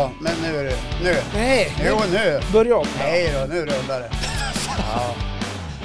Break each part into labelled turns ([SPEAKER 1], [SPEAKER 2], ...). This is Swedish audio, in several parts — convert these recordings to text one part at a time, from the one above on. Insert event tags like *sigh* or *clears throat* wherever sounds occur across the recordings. [SPEAKER 1] Ja, men nu är det... Nu!
[SPEAKER 2] Nej,
[SPEAKER 1] Jo, nu!
[SPEAKER 2] börja om.
[SPEAKER 1] Nej då, nu rullar det. Ja.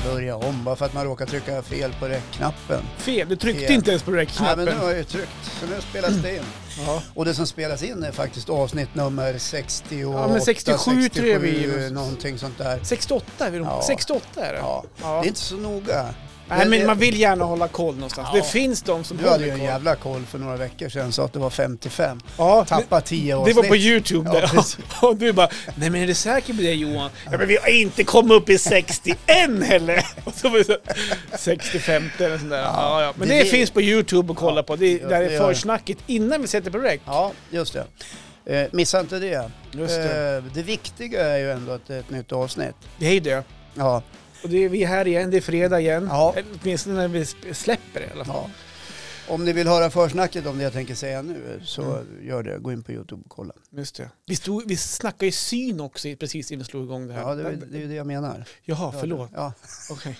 [SPEAKER 1] Börja om bara för att man råkar trycka fel på räckknappen.
[SPEAKER 2] Fel, du tryckte
[SPEAKER 1] Fel.
[SPEAKER 2] inte ens på
[SPEAKER 1] Nej, men
[SPEAKER 2] räckknappen.
[SPEAKER 1] nu har jag ju tryckt, så nu spelas det in.
[SPEAKER 2] Ja.
[SPEAKER 1] Och det som spelas in är faktiskt avsnitt nummer 68,
[SPEAKER 2] Ja, men 67 tror jag vi-
[SPEAKER 1] någonting sånt där.
[SPEAKER 2] 68 är vi
[SPEAKER 1] Ja.
[SPEAKER 2] ja. 68 är det.
[SPEAKER 1] Ja.
[SPEAKER 2] Ja.
[SPEAKER 1] Det är inte så noga.
[SPEAKER 2] Nej, men
[SPEAKER 1] det-
[SPEAKER 2] man vill gärna hålla koll någonstans.
[SPEAKER 1] Ja.
[SPEAKER 2] Det finns de som
[SPEAKER 1] Du hade
[SPEAKER 2] håller
[SPEAKER 1] ju en
[SPEAKER 2] koll.
[SPEAKER 1] jävla koll för några veckor sedan, sa att det var 55.
[SPEAKER 2] Ja,
[SPEAKER 1] Tappa 10
[SPEAKER 2] det
[SPEAKER 1] avsnitt.
[SPEAKER 2] var på YouTube
[SPEAKER 1] Ja,
[SPEAKER 2] där.
[SPEAKER 1] precis.
[SPEAKER 2] *laughs* och du bara Nej men är du säker på det Johan? Ja, men vi har inte kommit upp i 60 än heller! *laughs* Och så var det så 65 eller sånt där. Ja, ja. Men
[SPEAKER 1] Det-
[SPEAKER 2] det, finns på YouTube att kolla
[SPEAKER 1] Ja,
[SPEAKER 2] på. Det,
[SPEAKER 1] det-
[SPEAKER 2] där
[SPEAKER 1] det
[SPEAKER 2] är
[SPEAKER 1] gör det.
[SPEAKER 2] försnacket innan vi sätter på räck.
[SPEAKER 1] Ja, just det. Eh, missa inte det.
[SPEAKER 2] Just det.
[SPEAKER 1] Eh, det viktiga är ju ändå att det är ett nytt avsnitt.
[SPEAKER 2] Det är ju det.
[SPEAKER 1] Ja,
[SPEAKER 2] Och det är vi här igen, det är fredag igen.
[SPEAKER 1] Ja.
[SPEAKER 2] Eller Åtminstone när vi sp- släpper det i alla fall.
[SPEAKER 1] ja. Om ni vill höra försnacket om det jag tänker säga nu eh, så
[SPEAKER 2] Mm.
[SPEAKER 1] gör det. Gå in på Youtube och kolla.
[SPEAKER 2] Just det. Vi, stod, vi snackade ju syn också i- precis innan vi slog igång det här.
[SPEAKER 1] Ja, det, är- det är ju det jag menar.
[SPEAKER 2] Jaha, förlåt.
[SPEAKER 1] Ja. *laughs*
[SPEAKER 2] Okej.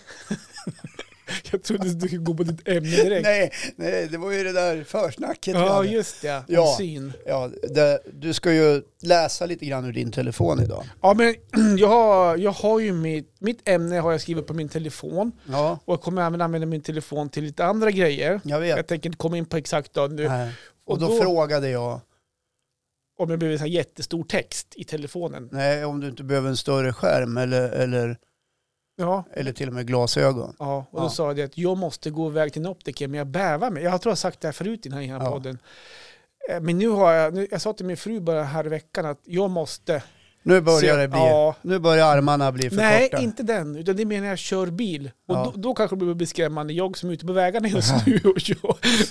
[SPEAKER 2] jag trodde du skulle gå på ditt ämne direkt.
[SPEAKER 1] Nej, nej, det var ju det där försnacket. vi
[SPEAKER 2] ja,
[SPEAKER 1] hade.
[SPEAKER 2] just det. Om
[SPEAKER 1] Ja.
[SPEAKER 2] syn.
[SPEAKER 1] ja, det, du ska ju läsa lite grann ur din telefon idag.
[SPEAKER 2] Ja, men *clears throat* jag har, jag har ju mitt, mitt ämne har jag skrivit på min telefon.
[SPEAKER 1] Ja,
[SPEAKER 2] Och jag kommer även använda min telefon till lite andra grejer.
[SPEAKER 1] jag vet.
[SPEAKER 2] Jag tänker inte komma in på exakt då nu.
[SPEAKER 1] Nej. Och
[SPEAKER 2] och
[SPEAKER 1] då,
[SPEAKER 2] då-
[SPEAKER 1] frågade jag,
[SPEAKER 2] Om det blir en sån här jättestor text i telefonen.
[SPEAKER 1] nej, om du inte behöver en större skärm eller, eller,
[SPEAKER 2] Ja.
[SPEAKER 1] eller till och med glasögon.
[SPEAKER 2] Ja, och då
[SPEAKER 1] Ja.
[SPEAKER 2] sa jag att jag måste gå iväg till en optiker, men jag bävar mig. Jag tror jag har sagt det här förut i den här
[SPEAKER 1] Ja.
[SPEAKER 2] ja. podden. Eh, Men nu har jag, nu, jag sa till min fru bara här i veckan att jag måste.
[SPEAKER 1] Nu börjar det bli,
[SPEAKER 2] Ja.
[SPEAKER 1] nu börjar armarna bli för
[SPEAKER 2] Nej,
[SPEAKER 1] korta.
[SPEAKER 2] inte den, utan det menar jag kör bil. Och
[SPEAKER 1] Ja.
[SPEAKER 2] då, då kanske det blir beskrämmande, jag som är ute på
[SPEAKER 1] *laughs*
[SPEAKER 2] vägarna just nu och kör,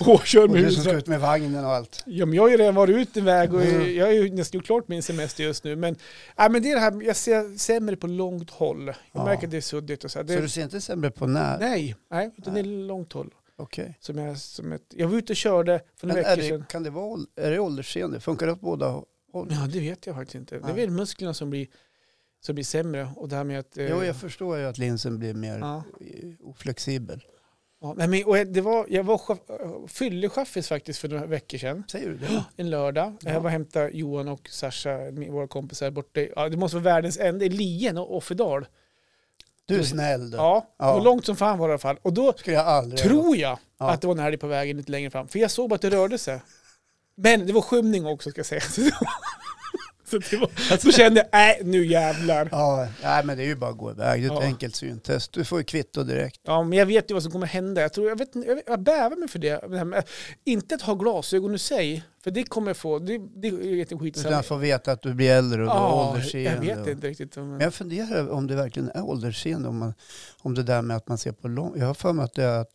[SPEAKER 2] och kör
[SPEAKER 1] och
[SPEAKER 2] med
[SPEAKER 1] du som ska
[SPEAKER 2] husvagn.
[SPEAKER 1] ut med vagnen och allt.
[SPEAKER 2] Ja, men jag har ju redan varit ute en väg och
[SPEAKER 1] Mm.
[SPEAKER 2] jag har ju nästan gjort klart min semester just nu. Men, nej, men det är det här, jag ser sämre på långt håll. Jag
[SPEAKER 1] Ja.
[SPEAKER 2] märker att det är suddigt och så. Här.
[SPEAKER 1] Så
[SPEAKER 2] Det,
[SPEAKER 1] du ser inte sämre på när?
[SPEAKER 2] nej, nej, utan det är långt håll.
[SPEAKER 1] Okej.
[SPEAKER 2] Som jag, som ett, jag var ute och körde för
[SPEAKER 1] Men
[SPEAKER 2] några
[SPEAKER 1] är
[SPEAKER 2] veckor
[SPEAKER 1] det,
[SPEAKER 2] sedan.
[SPEAKER 1] kan det vara, ål- är det åldersseende? Funkar det åt båda håll?
[SPEAKER 2] Ja, det vet jag faktiskt inte. Det
[SPEAKER 1] Nej.
[SPEAKER 2] är väl musklerna som blir, som blir sämre. Och det här med att... eh,
[SPEAKER 1] Jo, jag förstår ju att linsen blir mer
[SPEAKER 2] ja.
[SPEAKER 1] eh, oflexibel.
[SPEAKER 2] Ja, nej, men, och jag- det var, jag var chaf- fyllechaffis faktiskt för några veckor sedan.
[SPEAKER 1] Säger du det?
[SPEAKER 2] En lördag.
[SPEAKER 1] Ja.
[SPEAKER 2] Jag var och hämtade Johan och Sasha, min- våra kompisar, borta i- ja, Det måste vara världens ände, i Lien och Offerdal.
[SPEAKER 1] Du är snäll du.
[SPEAKER 2] Ja,
[SPEAKER 1] Ja.
[SPEAKER 2] och långt som fan var det i alla fall. Och då
[SPEAKER 1] skulle jag aldrig göra.
[SPEAKER 2] tror jag
[SPEAKER 1] Ja.
[SPEAKER 2] att det var en älg på vägen lite längre fram. För jag såg bara att det rörde sig. Men det var skymning också ska jag säga. *laughs* Så det var- Så, det var, så kände jag, nej nu jävlar.
[SPEAKER 1] Ja, nej, men det är ju bara att gå iväg. Det är ett
[SPEAKER 2] Ja.
[SPEAKER 1] enkelt syntest. Du får ju kvitto direkt.
[SPEAKER 2] Ja, men jag vet ju vad som kommer hända. Jag, tror, jag, vet, inte- jag, vet- jag bävar mig för det. det här med, inte att ha glasögon i sig, för det kommer jag få. Det, det är
[SPEAKER 1] Utan
[SPEAKER 2] jätteskitsamma.
[SPEAKER 1] att få veta att du blir äldre och du har
[SPEAKER 2] Ja, jag
[SPEAKER 1] åldersseende.
[SPEAKER 2] vet
[SPEAKER 1] och-
[SPEAKER 2] inte riktigt. om-
[SPEAKER 1] Men jag funderar om det verkligen är åldersseende. Om, man, om det där med att man ser på långt. Jag har för mig att det är att,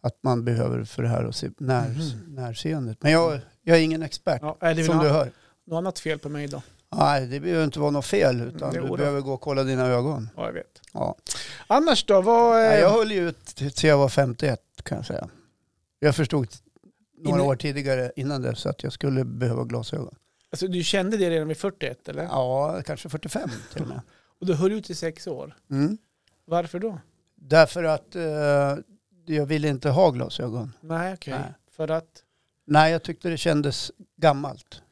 [SPEAKER 1] att man behöver för det här att se när,
[SPEAKER 2] Mhm.
[SPEAKER 1] närseendet. Men jag, jag är ingen expert.
[SPEAKER 2] Ja, är det är väl
[SPEAKER 1] Som du
[SPEAKER 2] något,
[SPEAKER 1] hör.
[SPEAKER 2] något annat fel på mig idag.
[SPEAKER 1] Nej, det behöver inte vara något fel utan
[SPEAKER 2] Jo
[SPEAKER 1] du
[SPEAKER 2] då. Ehm.
[SPEAKER 1] behöver gå och kolla dina ögon.
[SPEAKER 2] Ja, jag vet.
[SPEAKER 1] Ja.
[SPEAKER 2] Annars då? Vad, eh,
[SPEAKER 1] Nej, jag höll ju ut till- till jag var 51 kan jag säga. Jag förstod några
[SPEAKER 2] Inne-
[SPEAKER 1] år tidigare innan det så att jag skulle behöva glasögon.
[SPEAKER 2] alltså, du kände det redan vid 41, eller?
[SPEAKER 1] Ja, kanske 45 till och med.
[SPEAKER 2] Och du höll ut i sex år.
[SPEAKER 1] Mm.
[SPEAKER 2] Varför då?
[SPEAKER 1] Därför att eh, jag ville inte ha glasögon.
[SPEAKER 2] Nej, okej.
[SPEAKER 1] Nej.
[SPEAKER 2] För att...
[SPEAKER 1] Nej, jag tyckte det kändes gammalt.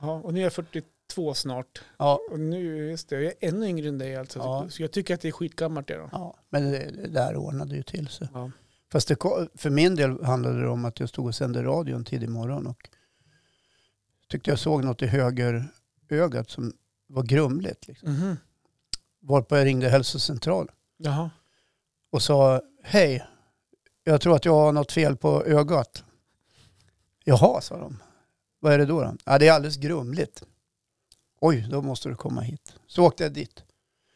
[SPEAKER 2] Ja, och nu är jag 42 snart.
[SPEAKER 1] Ja.
[SPEAKER 2] Och nu, just det, jag är ännu yngre än dig alltså.
[SPEAKER 1] Ja.
[SPEAKER 2] Så jag tycker att det är skitgammalt det då.
[SPEAKER 1] Ja, men det, det där ordnade ju till sig.
[SPEAKER 2] Ja.
[SPEAKER 1] Fast det, ko- för min del handlade det om att jag stod och sände radion tidig morgon och tyckte jag såg något i höger ögat som var grumligt. Liksom.
[SPEAKER 2] Mhm.
[SPEAKER 1] Varpå jag ringde hälsocentralen
[SPEAKER 2] Jaha.
[SPEAKER 1] och sa hej, jag tror att jag har något fel på ögat. Jaha, sa de. Vad är det då? då? Ja, det är alldeles grumligt. Oj, då måste du komma hit. Så åkte jag dit.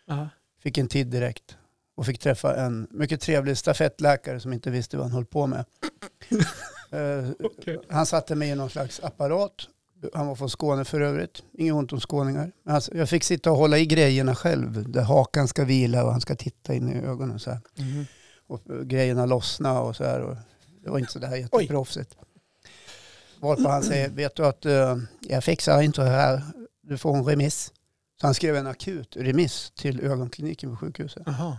[SPEAKER 2] Jaha.
[SPEAKER 1] fick en tid direkt och fick träffa en mycket trevlig stafettläkare som inte visste vad han höll på med. Eh,
[SPEAKER 2] Okej.
[SPEAKER 1] Han satte mig i någon slags apparat. Han var från Skåne för övrigt. Inget ont om skåningar. Men alltså, jag fick sitta och hålla i grejerna själv. Där hakan ska vila och han ska titta in i ögonen så här.
[SPEAKER 2] Mhm.
[SPEAKER 1] Och eh, grejerna lossna och så här. Och det var inte så där jätteproffsigt. Varpå han säger, vet du att eh, jag fixar inte det här. Du får en remiss. Så han skrev en akut remiss till ögonkliniken på sjukhuset.
[SPEAKER 2] Jaha.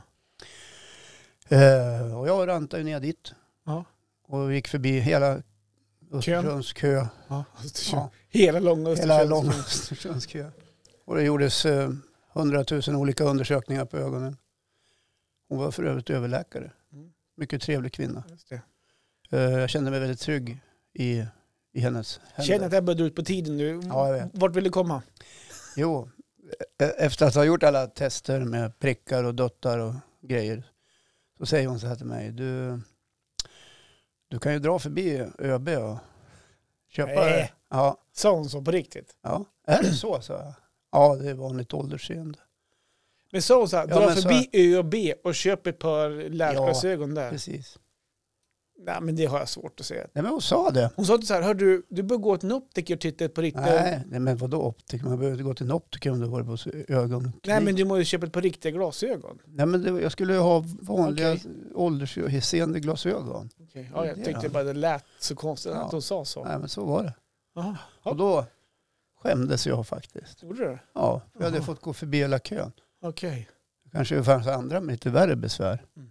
[SPEAKER 1] Eh, och jag rantade ju ner dit
[SPEAKER 2] Ja.
[SPEAKER 1] och gick förbi hela Östersundskö.
[SPEAKER 2] Ja.
[SPEAKER 1] Ja,
[SPEAKER 2] Hela långa Östersund.
[SPEAKER 1] hela långa Östersundskö. Och det gjordes eh, hundratusen olika undersökningar på ögonen. Hon var för övrigt överläkare.
[SPEAKER 2] Mm.
[SPEAKER 1] Mycket trevlig kvinna.
[SPEAKER 2] Just det.
[SPEAKER 1] Eh, Jag kände mig väldigt trygg i, i hennes händer.
[SPEAKER 2] Känner att det här börjar dra ut på tiden nu.
[SPEAKER 1] Ja, jag vet.
[SPEAKER 2] Vart vill du komma?
[SPEAKER 1] Jo, e- efter att ha gjort alla tester med prickar och dottar och grejer så säger hon så här till mig. Du, du kan ju dra förbi ÖB och köpa
[SPEAKER 2] Nej.
[SPEAKER 1] Ja,
[SPEAKER 2] Sa hon så på riktigt?
[SPEAKER 1] ja. Är det så? sa jag. Ja, det är vanligt åldersseende.
[SPEAKER 2] Men sa hon så här,
[SPEAKER 1] Ja,
[SPEAKER 2] dra
[SPEAKER 1] men så-
[SPEAKER 2] förbi ÖB och köp ett par läsglasögon där?
[SPEAKER 1] Precis.
[SPEAKER 2] Nej, men det har jag svårt att säga.
[SPEAKER 1] Nej, men hon sa det.
[SPEAKER 2] Hon sa inte så här, hör du, du bör gå till en optiker och titta på riktiga...
[SPEAKER 1] Nej, nej men vadå optiker? Man behöver inte gå till en optiker om du har det på ögon.
[SPEAKER 2] Nej, men du måste ju köpa ett par riktiga glasögon.
[SPEAKER 1] nej, men det, jag skulle ju ha vanliga
[SPEAKER 2] Okej.
[SPEAKER 1] åldersseende glasögon.
[SPEAKER 2] Okej, Ja, jag
[SPEAKER 1] Det-
[SPEAKER 2] tyckte bara det lät så konstigt
[SPEAKER 1] Ja.
[SPEAKER 2] att hon sa så.
[SPEAKER 1] Nej, men så var det.
[SPEAKER 2] Jaha,
[SPEAKER 1] Och då skämdes jag faktiskt.
[SPEAKER 2] gjorde du det?
[SPEAKER 1] Ja, för jag hade
[SPEAKER 2] Jaha.
[SPEAKER 1] fått gå förbi hela kön.
[SPEAKER 2] Okej.
[SPEAKER 1] Kanske det fanns andra med lite värre
[SPEAKER 2] *laughs*
[SPEAKER 1] besvär.
[SPEAKER 2] Mhm.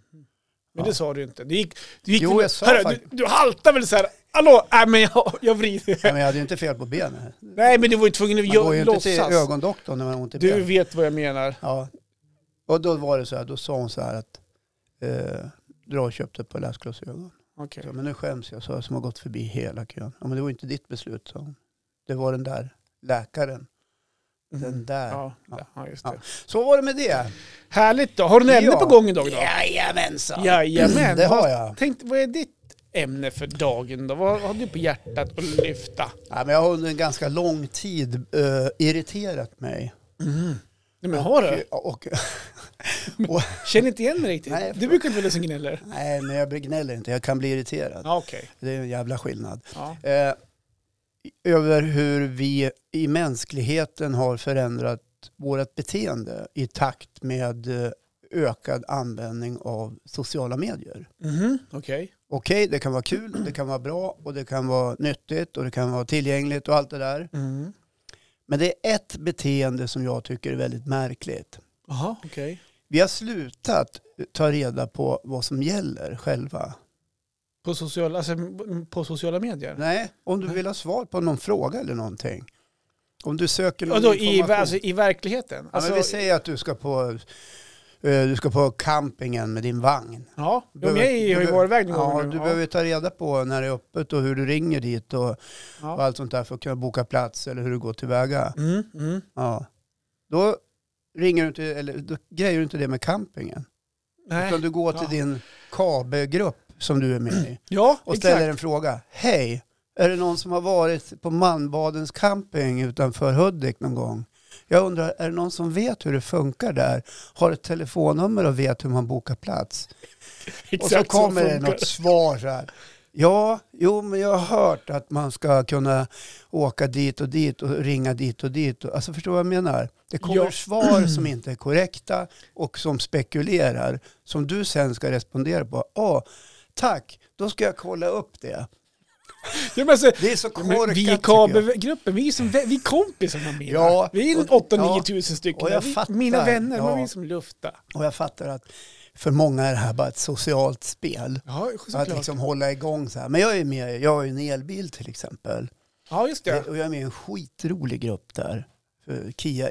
[SPEAKER 2] Men
[SPEAKER 1] Ja.
[SPEAKER 2] det sa du inte. Du gick, du gick
[SPEAKER 1] Jo,
[SPEAKER 2] väl-
[SPEAKER 1] jag sa
[SPEAKER 2] Hörru,
[SPEAKER 1] faktiskt-
[SPEAKER 2] du, du haltar väl så här, hallå, nej men jag, jag vrider.
[SPEAKER 1] Nej, men jag hade ju inte fel på benen. Man
[SPEAKER 2] Nej men du var ju tvungen att
[SPEAKER 1] går ju
[SPEAKER 2] gö-
[SPEAKER 1] inte till
[SPEAKER 2] låtsas.
[SPEAKER 1] ögondoktorn när man har ont i
[SPEAKER 2] Du
[SPEAKER 1] benen.
[SPEAKER 2] vet vad jag menar.
[SPEAKER 1] Ja. Och då var det så här, då sa hon så här att eh, dra och köp det på läsglasögon.
[SPEAKER 2] Okej.
[SPEAKER 1] Så, men nu skäms jag, så jag som har gått förbi hela kön. Ja, men det var ju inte ditt beslut, sa hon. Det var den där läkaren. Den
[SPEAKER 2] Mm.
[SPEAKER 1] där.
[SPEAKER 2] Ja,
[SPEAKER 1] Ja.
[SPEAKER 2] ja, just
[SPEAKER 1] Ja.
[SPEAKER 2] det.
[SPEAKER 1] Så var det med det.
[SPEAKER 2] Härligt då. Har du något ämne
[SPEAKER 1] Ja.
[SPEAKER 2] på gång idag då?
[SPEAKER 1] Jajamensan. *clears throat*
[SPEAKER 2] Jajamän.
[SPEAKER 1] Det har
[SPEAKER 2] Vad-
[SPEAKER 1] jag.
[SPEAKER 2] Tänk, vad är ditt ämne för dagen då? Vad har du på hjärtat att lyfta?
[SPEAKER 1] Ja, men jag har under en ganska lång tid eh, irriterat mig.
[SPEAKER 2] Nej, men har du?
[SPEAKER 1] Och, och,
[SPEAKER 2] Känner inte igen mig riktigt.
[SPEAKER 1] Nej, jag
[SPEAKER 2] du brukar inte vara den som gnäller.
[SPEAKER 1] nej, men jag gnäller inte. Jag kan bli irriterad.
[SPEAKER 2] Ja, okej.
[SPEAKER 1] Det är en jävla skillnad.
[SPEAKER 2] Ja.
[SPEAKER 1] Eh, över hur vi i mänskligheten har förändrat vårt beteende i takt med eh, ökad användning av sociala medier.
[SPEAKER 2] Mhm, Okej.
[SPEAKER 1] Okej, det kan vara kul, det kan vara bra och det kan vara nyttigt och det kan vara tillgängligt och allt det där.
[SPEAKER 2] Mm.
[SPEAKER 1] Men det är ett beteende som jag tycker är väldigt märkligt.
[SPEAKER 2] Jaha, okej.
[SPEAKER 1] Vi har slutat ta reda på vad som gäller själva.
[SPEAKER 2] På, sociala, alltså, på sociala medier?
[SPEAKER 1] Nej, om du vill ha svar på någon fråga eller någonting. Om du söker någon
[SPEAKER 2] Och då, i,
[SPEAKER 1] information.
[SPEAKER 2] alltså, I verkligheten?
[SPEAKER 1] ja,
[SPEAKER 2] Alltså,
[SPEAKER 1] men vi säger att du ska på, eh, du ska på campingen med din vagn.
[SPEAKER 2] ja,
[SPEAKER 1] Du
[SPEAKER 2] de är
[SPEAKER 1] behöver-
[SPEAKER 2] ju,
[SPEAKER 1] du
[SPEAKER 2] har ju
[SPEAKER 1] behöver-
[SPEAKER 2] varit iväg någon
[SPEAKER 1] Ja,
[SPEAKER 2] gång
[SPEAKER 1] du
[SPEAKER 2] nu.
[SPEAKER 1] behöver ta reda på när det är öppet och hur du ringer dit och, och
[SPEAKER 2] ja.
[SPEAKER 1] allt sånt där för att kunna boka plats eller hur du går tillväga.
[SPEAKER 2] Mm, mm.
[SPEAKER 1] Ja. Då ringer du inte, eller då grejer du inte det med campingen. Utan
[SPEAKER 2] Nej.
[SPEAKER 1] du går till
[SPEAKER 2] Ja.
[SPEAKER 1] din KB-grupp som du är med i.
[SPEAKER 2] Ja,
[SPEAKER 1] och
[SPEAKER 2] exakt.
[SPEAKER 1] ställer en fråga. Hej, är det någon som har varit på Malmbadens camping utanför Hudik någon gång? Jag undrar, är det någon som vet hur det funkar där? Har ett telefonnummer och vet hur man bokar plats? och så
[SPEAKER 2] Exakt
[SPEAKER 1] kommer det
[SPEAKER 2] funkar
[SPEAKER 1] något svar så här. Ja, jo, men jag har hört att man ska kunna åka dit och dit och ringa dit och dit. Alltså förstår du vad jag menar? Det kommer
[SPEAKER 2] Ja.
[SPEAKER 1] svar
[SPEAKER 2] *clears throat*
[SPEAKER 1] som inte är korrekta och som spekulerar, som du sen ska respondera på. Ja, tack, då ska jag kolla upp det.
[SPEAKER 2] Ja, men alltså,
[SPEAKER 1] Det är så
[SPEAKER 2] Ja,
[SPEAKER 1] korkat.
[SPEAKER 2] Men vi i
[SPEAKER 1] tycker jag.
[SPEAKER 2] kabelgruppen, vi är, som, vä- vi är kompisar med mina.
[SPEAKER 1] Ja,
[SPEAKER 2] vi är
[SPEAKER 1] och-
[SPEAKER 2] 8
[SPEAKER 1] ja,
[SPEAKER 2] 9 tusen stycken.
[SPEAKER 1] och jag
[SPEAKER 2] vi,
[SPEAKER 1] fattar,
[SPEAKER 2] mina vänner,
[SPEAKER 1] ja.
[SPEAKER 2] men vi är som lufta.
[SPEAKER 1] Och jag fattar att för många är det här bara ett socialt spel.
[SPEAKER 2] Ja,
[SPEAKER 1] att
[SPEAKER 2] såklart.
[SPEAKER 1] liksom hålla igång så här. Men jag är med, jag har ju en elbil till exempel.
[SPEAKER 2] ja, just det.
[SPEAKER 1] Och jag är med i en skitrolig grupp där. För Kia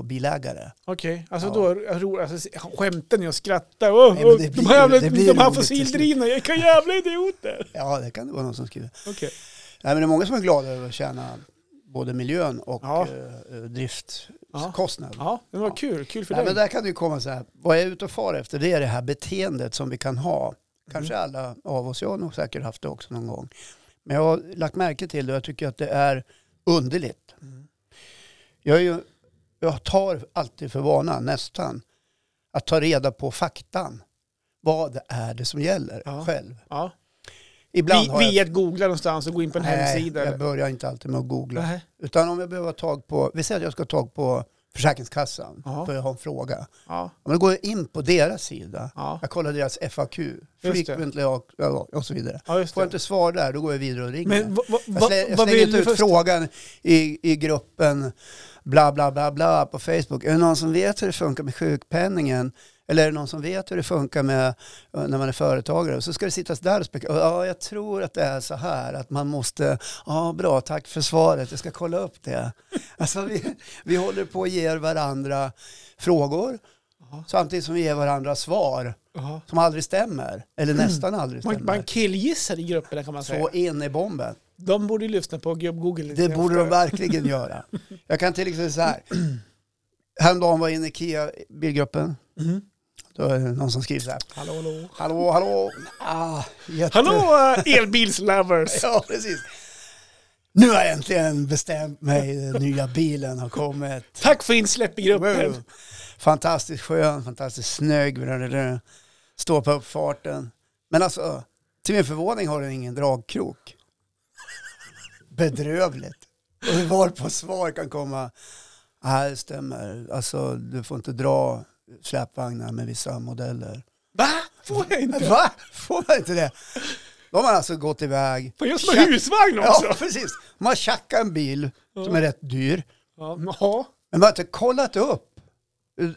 [SPEAKER 1] Eniro-bilägare.
[SPEAKER 2] Okej, alltså
[SPEAKER 1] Ja.
[SPEAKER 2] då ro, alltså, skämtar ni och skrattar? Åh,
[SPEAKER 1] Nej, men det
[SPEAKER 2] åh,
[SPEAKER 1] blir
[SPEAKER 2] de här, jävla,
[SPEAKER 1] ju- det blir
[SPEAKER 2] de här
[SPEAKER 1] roligt liksom. till
[SPEAKER 2] fossildrivna, vilka jävla idioter!
[SPEAKER 1] Ja, det kan det vara någon som skriver.
[SPEAKER 2] Okej,
[SPEAKER 1] Nej, men det är många som är glada över att tjäna både miljön och
[SPEAKER 2] Ja.
[SPEAKER 1] eh, eh,
[SPEAKER 2] Ja.
[SPEAKER 1] driftskostnad.
[SPEAKER 2] ja, men
[SPEAKER 1] Ja.
[SPEAKER 2] vad kul, kul för
[SPEAKER 1] Nej, men
[SPEAKER 2] dig.
[SPEAKER 1] där kan det ju komma så här, vad jag är ute och far efter det är det här beteendet som vi kan ha. Kanske
[SPEAKER 2] Mm.
[SPEAKER 1] alla av oss, jag har nog säkert haft det också någon gång. Men jag har lagt märke till det och jag tycker att det är underligt.
[SPEAKER 2] Mm.
[SPEAKER 1] Jag, är ju, jag tar alltid för vana, nästan, att ta reda på faktan. Vad är det som gäller
[SPEAKER 2] Ja.
[SPEAKER 1] själv?
[SPEAKER 2] Ja.
[SPEAKER 1] Ibland
[SPEAKER 2] Vi,
[SPEAKER 1] har jag,
[SPEAKER 2] via att googla någonstans och gå in på en
[SPEAKER 1] nej,
[SPEAKER 2] hemsida.
[SPEAKER 1] jag
[SPEAKER 2] eller-
[SPEAKER 1] börjar inte alltid med att googla.
[SPEAKER 2] Nej.
[SPEAKER 1] Utan om jag behöver ha tag på, vi säger att jag ska ha tag på Försäkringskassan
[SPEAKER 2] Ja.
[SPEAKER 1] för jag har en fråga.
[SPEAKER 2] Ja,
[SPEAKER 1] Ja, Men då går jag in på deras sida.
[SPEAKER 2] ja.
[SPEAKER 1] Jag kollar deras FAQ,
[SPEAKER 2] det.
[SPEAKER 1] frequently och, ja, och så vidare.
[SPEAKER 2] ja, just
[SPEAKER 1] Får jag
[SPEAKER 2] det.
[SPEAKER 1] inte svar där, då går jag vidare och ringer.
[SPEAKER 2] Men vad- vad-
[SPEAKER 1] jag slä,
[SPEAKER 2] vad-
[SPEAKER 1] jag
[SPEAKER 2] vad
[SPEAKER 1] slänger
[SPEAKER 2] vill
[SPEAKER 1] inte
[SPEAKER 2] du
[SPEAKER 1] ut
[SPEAKER 2] först?
[SPEAKER 1] frågan i, i gruppen bla bla bla bla på Facebook. Är det någon som vet hur det funkar med sjukpenningen? Eller är det någon som vet hur det funkar med, eh, när man är företagare? Och så ska det sittas där och spekulera. Ja, jag tror att det är så här att man måste, ja bra, tack för svaret, jag ska kolla upp det. *laughs* Alltså vi, vi håller på och ger varandra frågor
[SPEAKER 2] Jaha.
[SPEAKER 1] samtidigt som vi ger varandra svar
[SPEAKER 2] Jaha.
[SPEAKER 1] som aldrig stämmer, eller nästan aldrig stämmer.
[SPEAKER 2] Mm. Man, man killgissar i grupperna kan man säga.
[SPEAKER 1] så in i bomben.
[SPEAKER 2] De borde ju lyssna på Gubb Google. lite
[SPEAKER 1] Det borde
[SPEAKER 2] oftare.
[SPEAKER 1] de verkligen göra. Jag kan till exempel så här. Häromdagen var jag inne i IKEA-bilgruppen.
[SPEAKER 2] Mhm.
[SPEAKER 1] Då är det någon som skriver så här.
[SPEAKER 2] Hallå, hallå.
[SPEAKER 1] Hallå, hallå. Ah, jätte...
[SPEAKER 2] Hallå eh,
[SPEAKER 1] *laughs*
[SPEAKER 2] elbilslovers!
[SPEAKER 1] Ja, precis. Nu har jag äntligen bestämt mig. Den nya bilen har kommit.
[SPEAKER 2] Tack för insläpp i gruppen.
[SPEAKER 1] Wow. Fantastiskt skön, fantastiskt snygg. blablabla. Står på uppfarten. Men alltså, till min förvåning har den ingen dragkrok. Bedrövligt. Och var på svar kan komma. Nej, det stämmer. Alltså, du får inte dra släpvagnar med vissa modeller.
[SPEAKER 2] Va? Får jag inte?
[SPEAKER 1] Va? Får man inte det? Då har man alltså gått iväg.
[SPEAKER 2] Får jag som en husvagn
[SPEAKER 1] Ja,
[SPEAKER 2] också?
[SPEAKER 1] precis. Man tjackar en bil som är rätt dyr.
[SPEAKER 2] Ja. ja.
[SPEAKER 1] Men man har inte kollat upp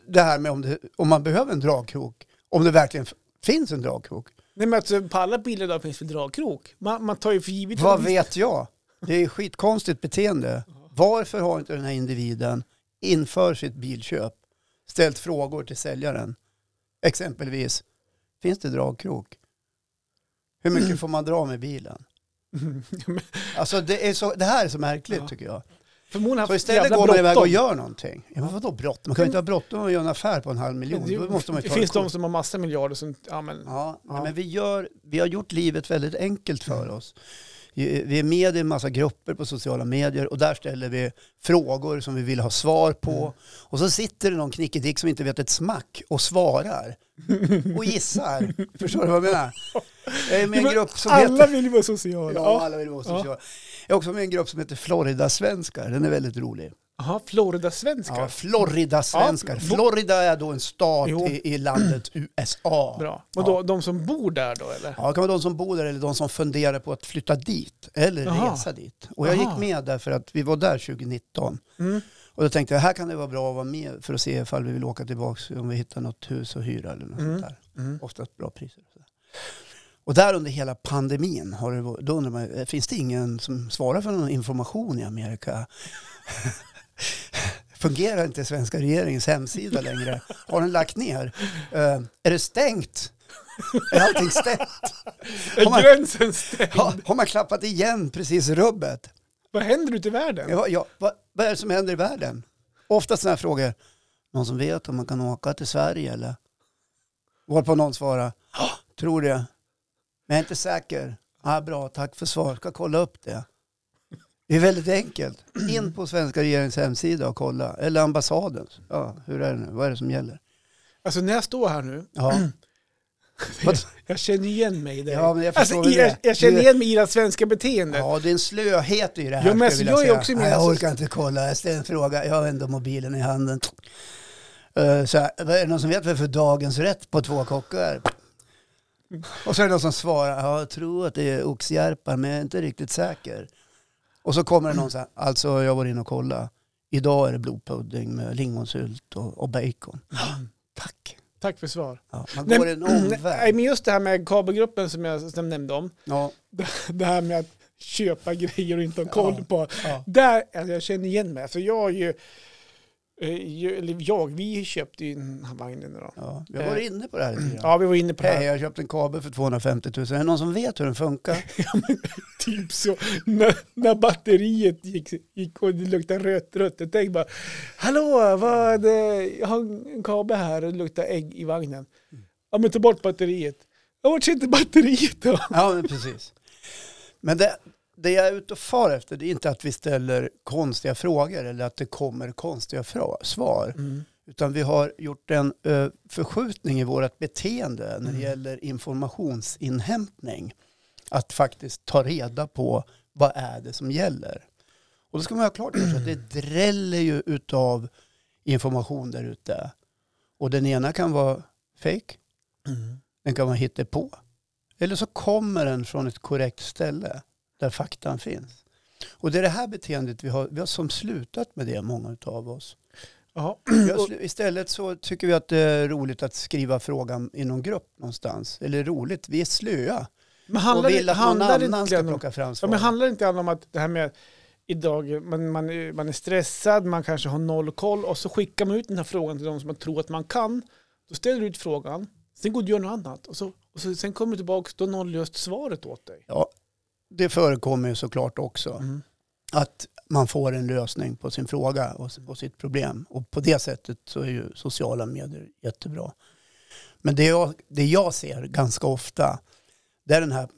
[SPEAKER 1] det här med om, det, om man behöver en dragkrok. Om det verkligen f- finns en dragkrok.
[SPEAKER 2] Nej men alltså, på alla bilar idag finns det dragkrok. Man, man tar ju för givet
[SPEAKER 1] Vad
[SPEAKER 2] att-
[SPEAKER 1] vet jag? Det är skitkonstigt beteende. Varför har inte den här individen inför sitt bilköp ställt frågor till säljaren? Exempelvis, finns det dragkrok? Hur mycket får man dra med bilen? Alltså det, är så, det här är så märkligt
[SPEAKER 2] Ja.
[SPEAKER 1] tycker jag.
[SPEAKER 2] Förmodligen
[SPEAKER 1] Så
[SPEAKER 2] haft
[SPEAKER 1] Alltså, istället
[SPEAKER 2] jävla
[SPEAKER 1] går man iväg och
[SPEAKER 2] bråttom.
[SPEAKER 1] gör någonting. Ja, men vadå bråttom? Man kan ju inte ha bråttom och göra en affär på en halv miljon. Då måste man ju
[SPEAKER 2] det
[SPEAKER 1] ta
[SPEAKER 2] finns
[SPEAKER 1] ett
[SPEAKER 2] de som har massa miljarder som... Ja, men,
[SPEAKER 1] Ja, nej,
[SPEAKER 2] Ja.
[SPEAKER 1] men vi, gör, vi har gjort livet väldigt enkelt för oss. Ju- Vi är med i en massa grupper på sociala medier och där ställer vi frågor som vi vill ha svar på.
[SPEAKER 2] Mm.
[SPEAKER 1] Och så sitter det någon knickedick som inte vet ett smack och svarar. Och
[SPEAKER 2] *laughs*
[SPEAKER 1] gissar. Förstår du vad jag menar? Jag är med i en
[SPEAKER 2] Men
[SPEAKER 1] grupp som
[SPEAKER 2] alla
[SPEAKER 1] heter...
[SPEAKER 2] vill ju vara sociala.
[SPEAKER 1] Ja,
[SPEAKER 2] Ja.
[SPEAKER 1] alla vill vara
[SPEAKER 2] Ja.
[SPEAKER 1] sociala. Jag är också med i en grupp som heter Florida-svenskar. Den är väldigt rolig.
[SPEAKER 2] Jaha, Florida-svenskar.
[SPEAKER 1] Ja, Florida-svenskar.
[SPEAKER 2] Ja, bo-
[SPEAKER 1] Florida är då en stat
[SPEAKER 2] Jo.
[SPEAKER 1] i, i landet USA.
[SPEAKER 2] Bra. Och då, de som bor där då eller?
[SPEAKER 1] Ja, det kan vara de som bor där eller de som funderar på att flytta dit eller
[SPEAKER 2] Jaha.
[SPEAKER 1] resa dit. Och jag
[SPEAKER 2] Jaha.
[SPEAKER 1] gick med där för att vi var där 2019.
[SPEAKER 2] Mm.
[SPEAKER 1] Och då tänkte jag, här kan det vara bra att vara med för att se ifall vi vill åka tillbaka, om vi hittar något hus och hyra eller något
[SPEAKER 2] Mm.
[SPEAKER 1] sånt där.
[SPEAKER 2] Mm.
[SPEAKER 1] Oftast bra priser. och sådär. Och där under hela pandemin, har det, varit- då undrar man, eh, finns det ingen som svarar för någon information i Amerika? *laughs* Fungerar inte svenska regeringens hemsida längre? Har den lagt ner? Eh, är det stängt? Är allting stängt?
[SPEAKER 2] Är
[SPEAKER 1] Har man-
[SPEAKER 2] gränsen stängd?
[SPEAKER 1] Ja, har man klappat igen precis rubbet?
[SPEAKER 2] Vad händer ute i världen?
[SPEAKER 1] Ja, ja, vad, vad är det som händer i världen? Ofta sådana här frågor. Någon som vet om man kan åka till Sverige eller? Varpå någon svarar. "Ja, Tror det. Men jag är inte säker. Ah, bra, tack för svar. Ska kolla upp det. Det är väldigt enkelt. In på svenska regeringens hemsida och kolla. Eller ambassadens. Ja, hur är det nu? Vad är det som gäller?
[SPEAKER 2] Alltså när jag står här nu,
[SPEAKER 1] Ja, Vad-
[SPEAKER 2] jag känner igen mig i dig.
[SPEAKER 1] Ja, men jag
[SPEAKER 2] alltså,
[SPEAKER 1] förstår väl
[SPEAKER 2] jag,
[SPEAKER 1] det.
[SPEAKER 2] jag känner
[SPEAKER 1] Du-
[SPEAKER 2] igen mig i det svenska beteendet.
[SPEAKER 1] ja det är en slöhet i det här.
[SPEAKER 2] Ja, men
[SPEAKER 1] skulle
[SPEAKER 2] alltså,
[SPEAKER 1] vilja
[SPEAKER 2] jag är
[SPEAKER 1] säga.
[SPEAKER 2] också med.
[SPEAKER 1] Nej, jag
[SPEAKER 2] Alltså-
[SPEAKER 1] orkar inte kolla. Jag ställer en fråga. Jag har ändå mobilen i handen. Eh, Så här, "Vad är det någon som vet vad det är för dagens rätt på två kockar? Och så är det någon som svarar, ja, jag tror att det är oxjärpar men jag är inte riktigt säker. Och så kommer det någon så här, alltså jag var inne och kollade. Idag är det blodpudding med lingonsylt och, och bacon. Tack.
[SPEAKER 2] Tack för svar.
[SPEAKER 1] Ja, man
[SPEAKER 2] Mm. Nej,
[SPEAKER 1] går en
[SPEAKER 2] Nej,
[SPEAKER 1] omväg.
[SPEAKER 2] men just det här med kabelgruppen som jag som jag nämnde om. *laughs*
[SPEAKER 1] Ja,
[SPEAKER 2] Det här med att köpa grejer och inte ha koll
[SPEAKER 1] Ja.
[SPEAKER 2] på.
[SPEAKER 1] ja.
[SPEAKER 2] Där, alltså jag känner igen mig. Alltså jag är ju, eh, ju, eller jag, vi köpte ju den här vagnen idag.
[SPEAKER 1] Ja, jag var inne på det här lite grann.
[SPEAKER 2] Ja, vi var inne på det här.
[SPEAKER 1] Hej, jag har köpt en kabel för 250 000. Är det någon som vet hur den funkar?
[SPEAKER 2] *laughs* Typ så. När, när batteriet gick, gick och det luktade rött, rött. Tänk bara, hallå, vad, eh, jag har en kabel här och det luktar ägg i vagnen.
[SPEAKER 1] Mm.
[SPEAKER 2] Ja, men ta bort batteriet. Ja, vart sitter batteriet då?
[SPEAKER 1] Ja, men precis. Men det, det jag är ute och far efter det är inte att vi ställer konstiga frågor eller att det kommer konstiga fra- svar.
[SPEAKER 2] Mm.
[SPEAKER 1] Utan vi har gjort en eh, förskjutning i vårt beteende när det
[SPEAKER 2] Mm.
[SPEAKER 1] gäller informationsinhämtning. Att faktiskt ta reda på vad är det som gäller. Och då ska man ha klart för sig att
[SPEAKER 2] *clears throat*
[SPEAKER 1] det dräller ju utav information där ute. Och den ena kan vara fake, den kan man hitta på. Eller så kommer den från ett korrekt ställe där faktan finns. Och det är det här beteendet vi har, vi har som slutat med det, många av oss.
[SPEAKER 2] Jaha.
[SPEAKER 1] Jag- Istället så tycker vi att det är roligt att skriva frågan i någon grupp någonstans. Eller roligt, vi är slöa
[SPEAKER 2] Men handlar,
[SPEAKER 1] och
[SPEAKER 2] det-
[SPEAKER 1] vill att någon
[SPEAKER 2] handlar det
[SPEAKER 1] annan ska
[SPEAKER 2] egentligen om,
[SPEAKER 1] plocka fram
[SPEAKER 2] ja,
[SPEAKER 1] svaret.
[SPEAKER 2] men handlar det inte om att det här med idag, man, man, är- man är stressad, man kanske har noll koll och så skickar man ut den här frågan till de som man tror att man kan. Då ställer du ut frågan, sen går du och gör något annat och, så, och så, sen kommer du tillbaka, då har någon löst svaret åt dig.
[SPEAKER 1] Ja, det förekommer ju såklart också
[SPEAKER 2] Mm.
[SPEAKER 1] att man får en lösning på sin fråga och s- på sitt problem. Och på det sättet så är ju sociala medier jättebra. Men det jag, det jag ser ganska ofta, det är den här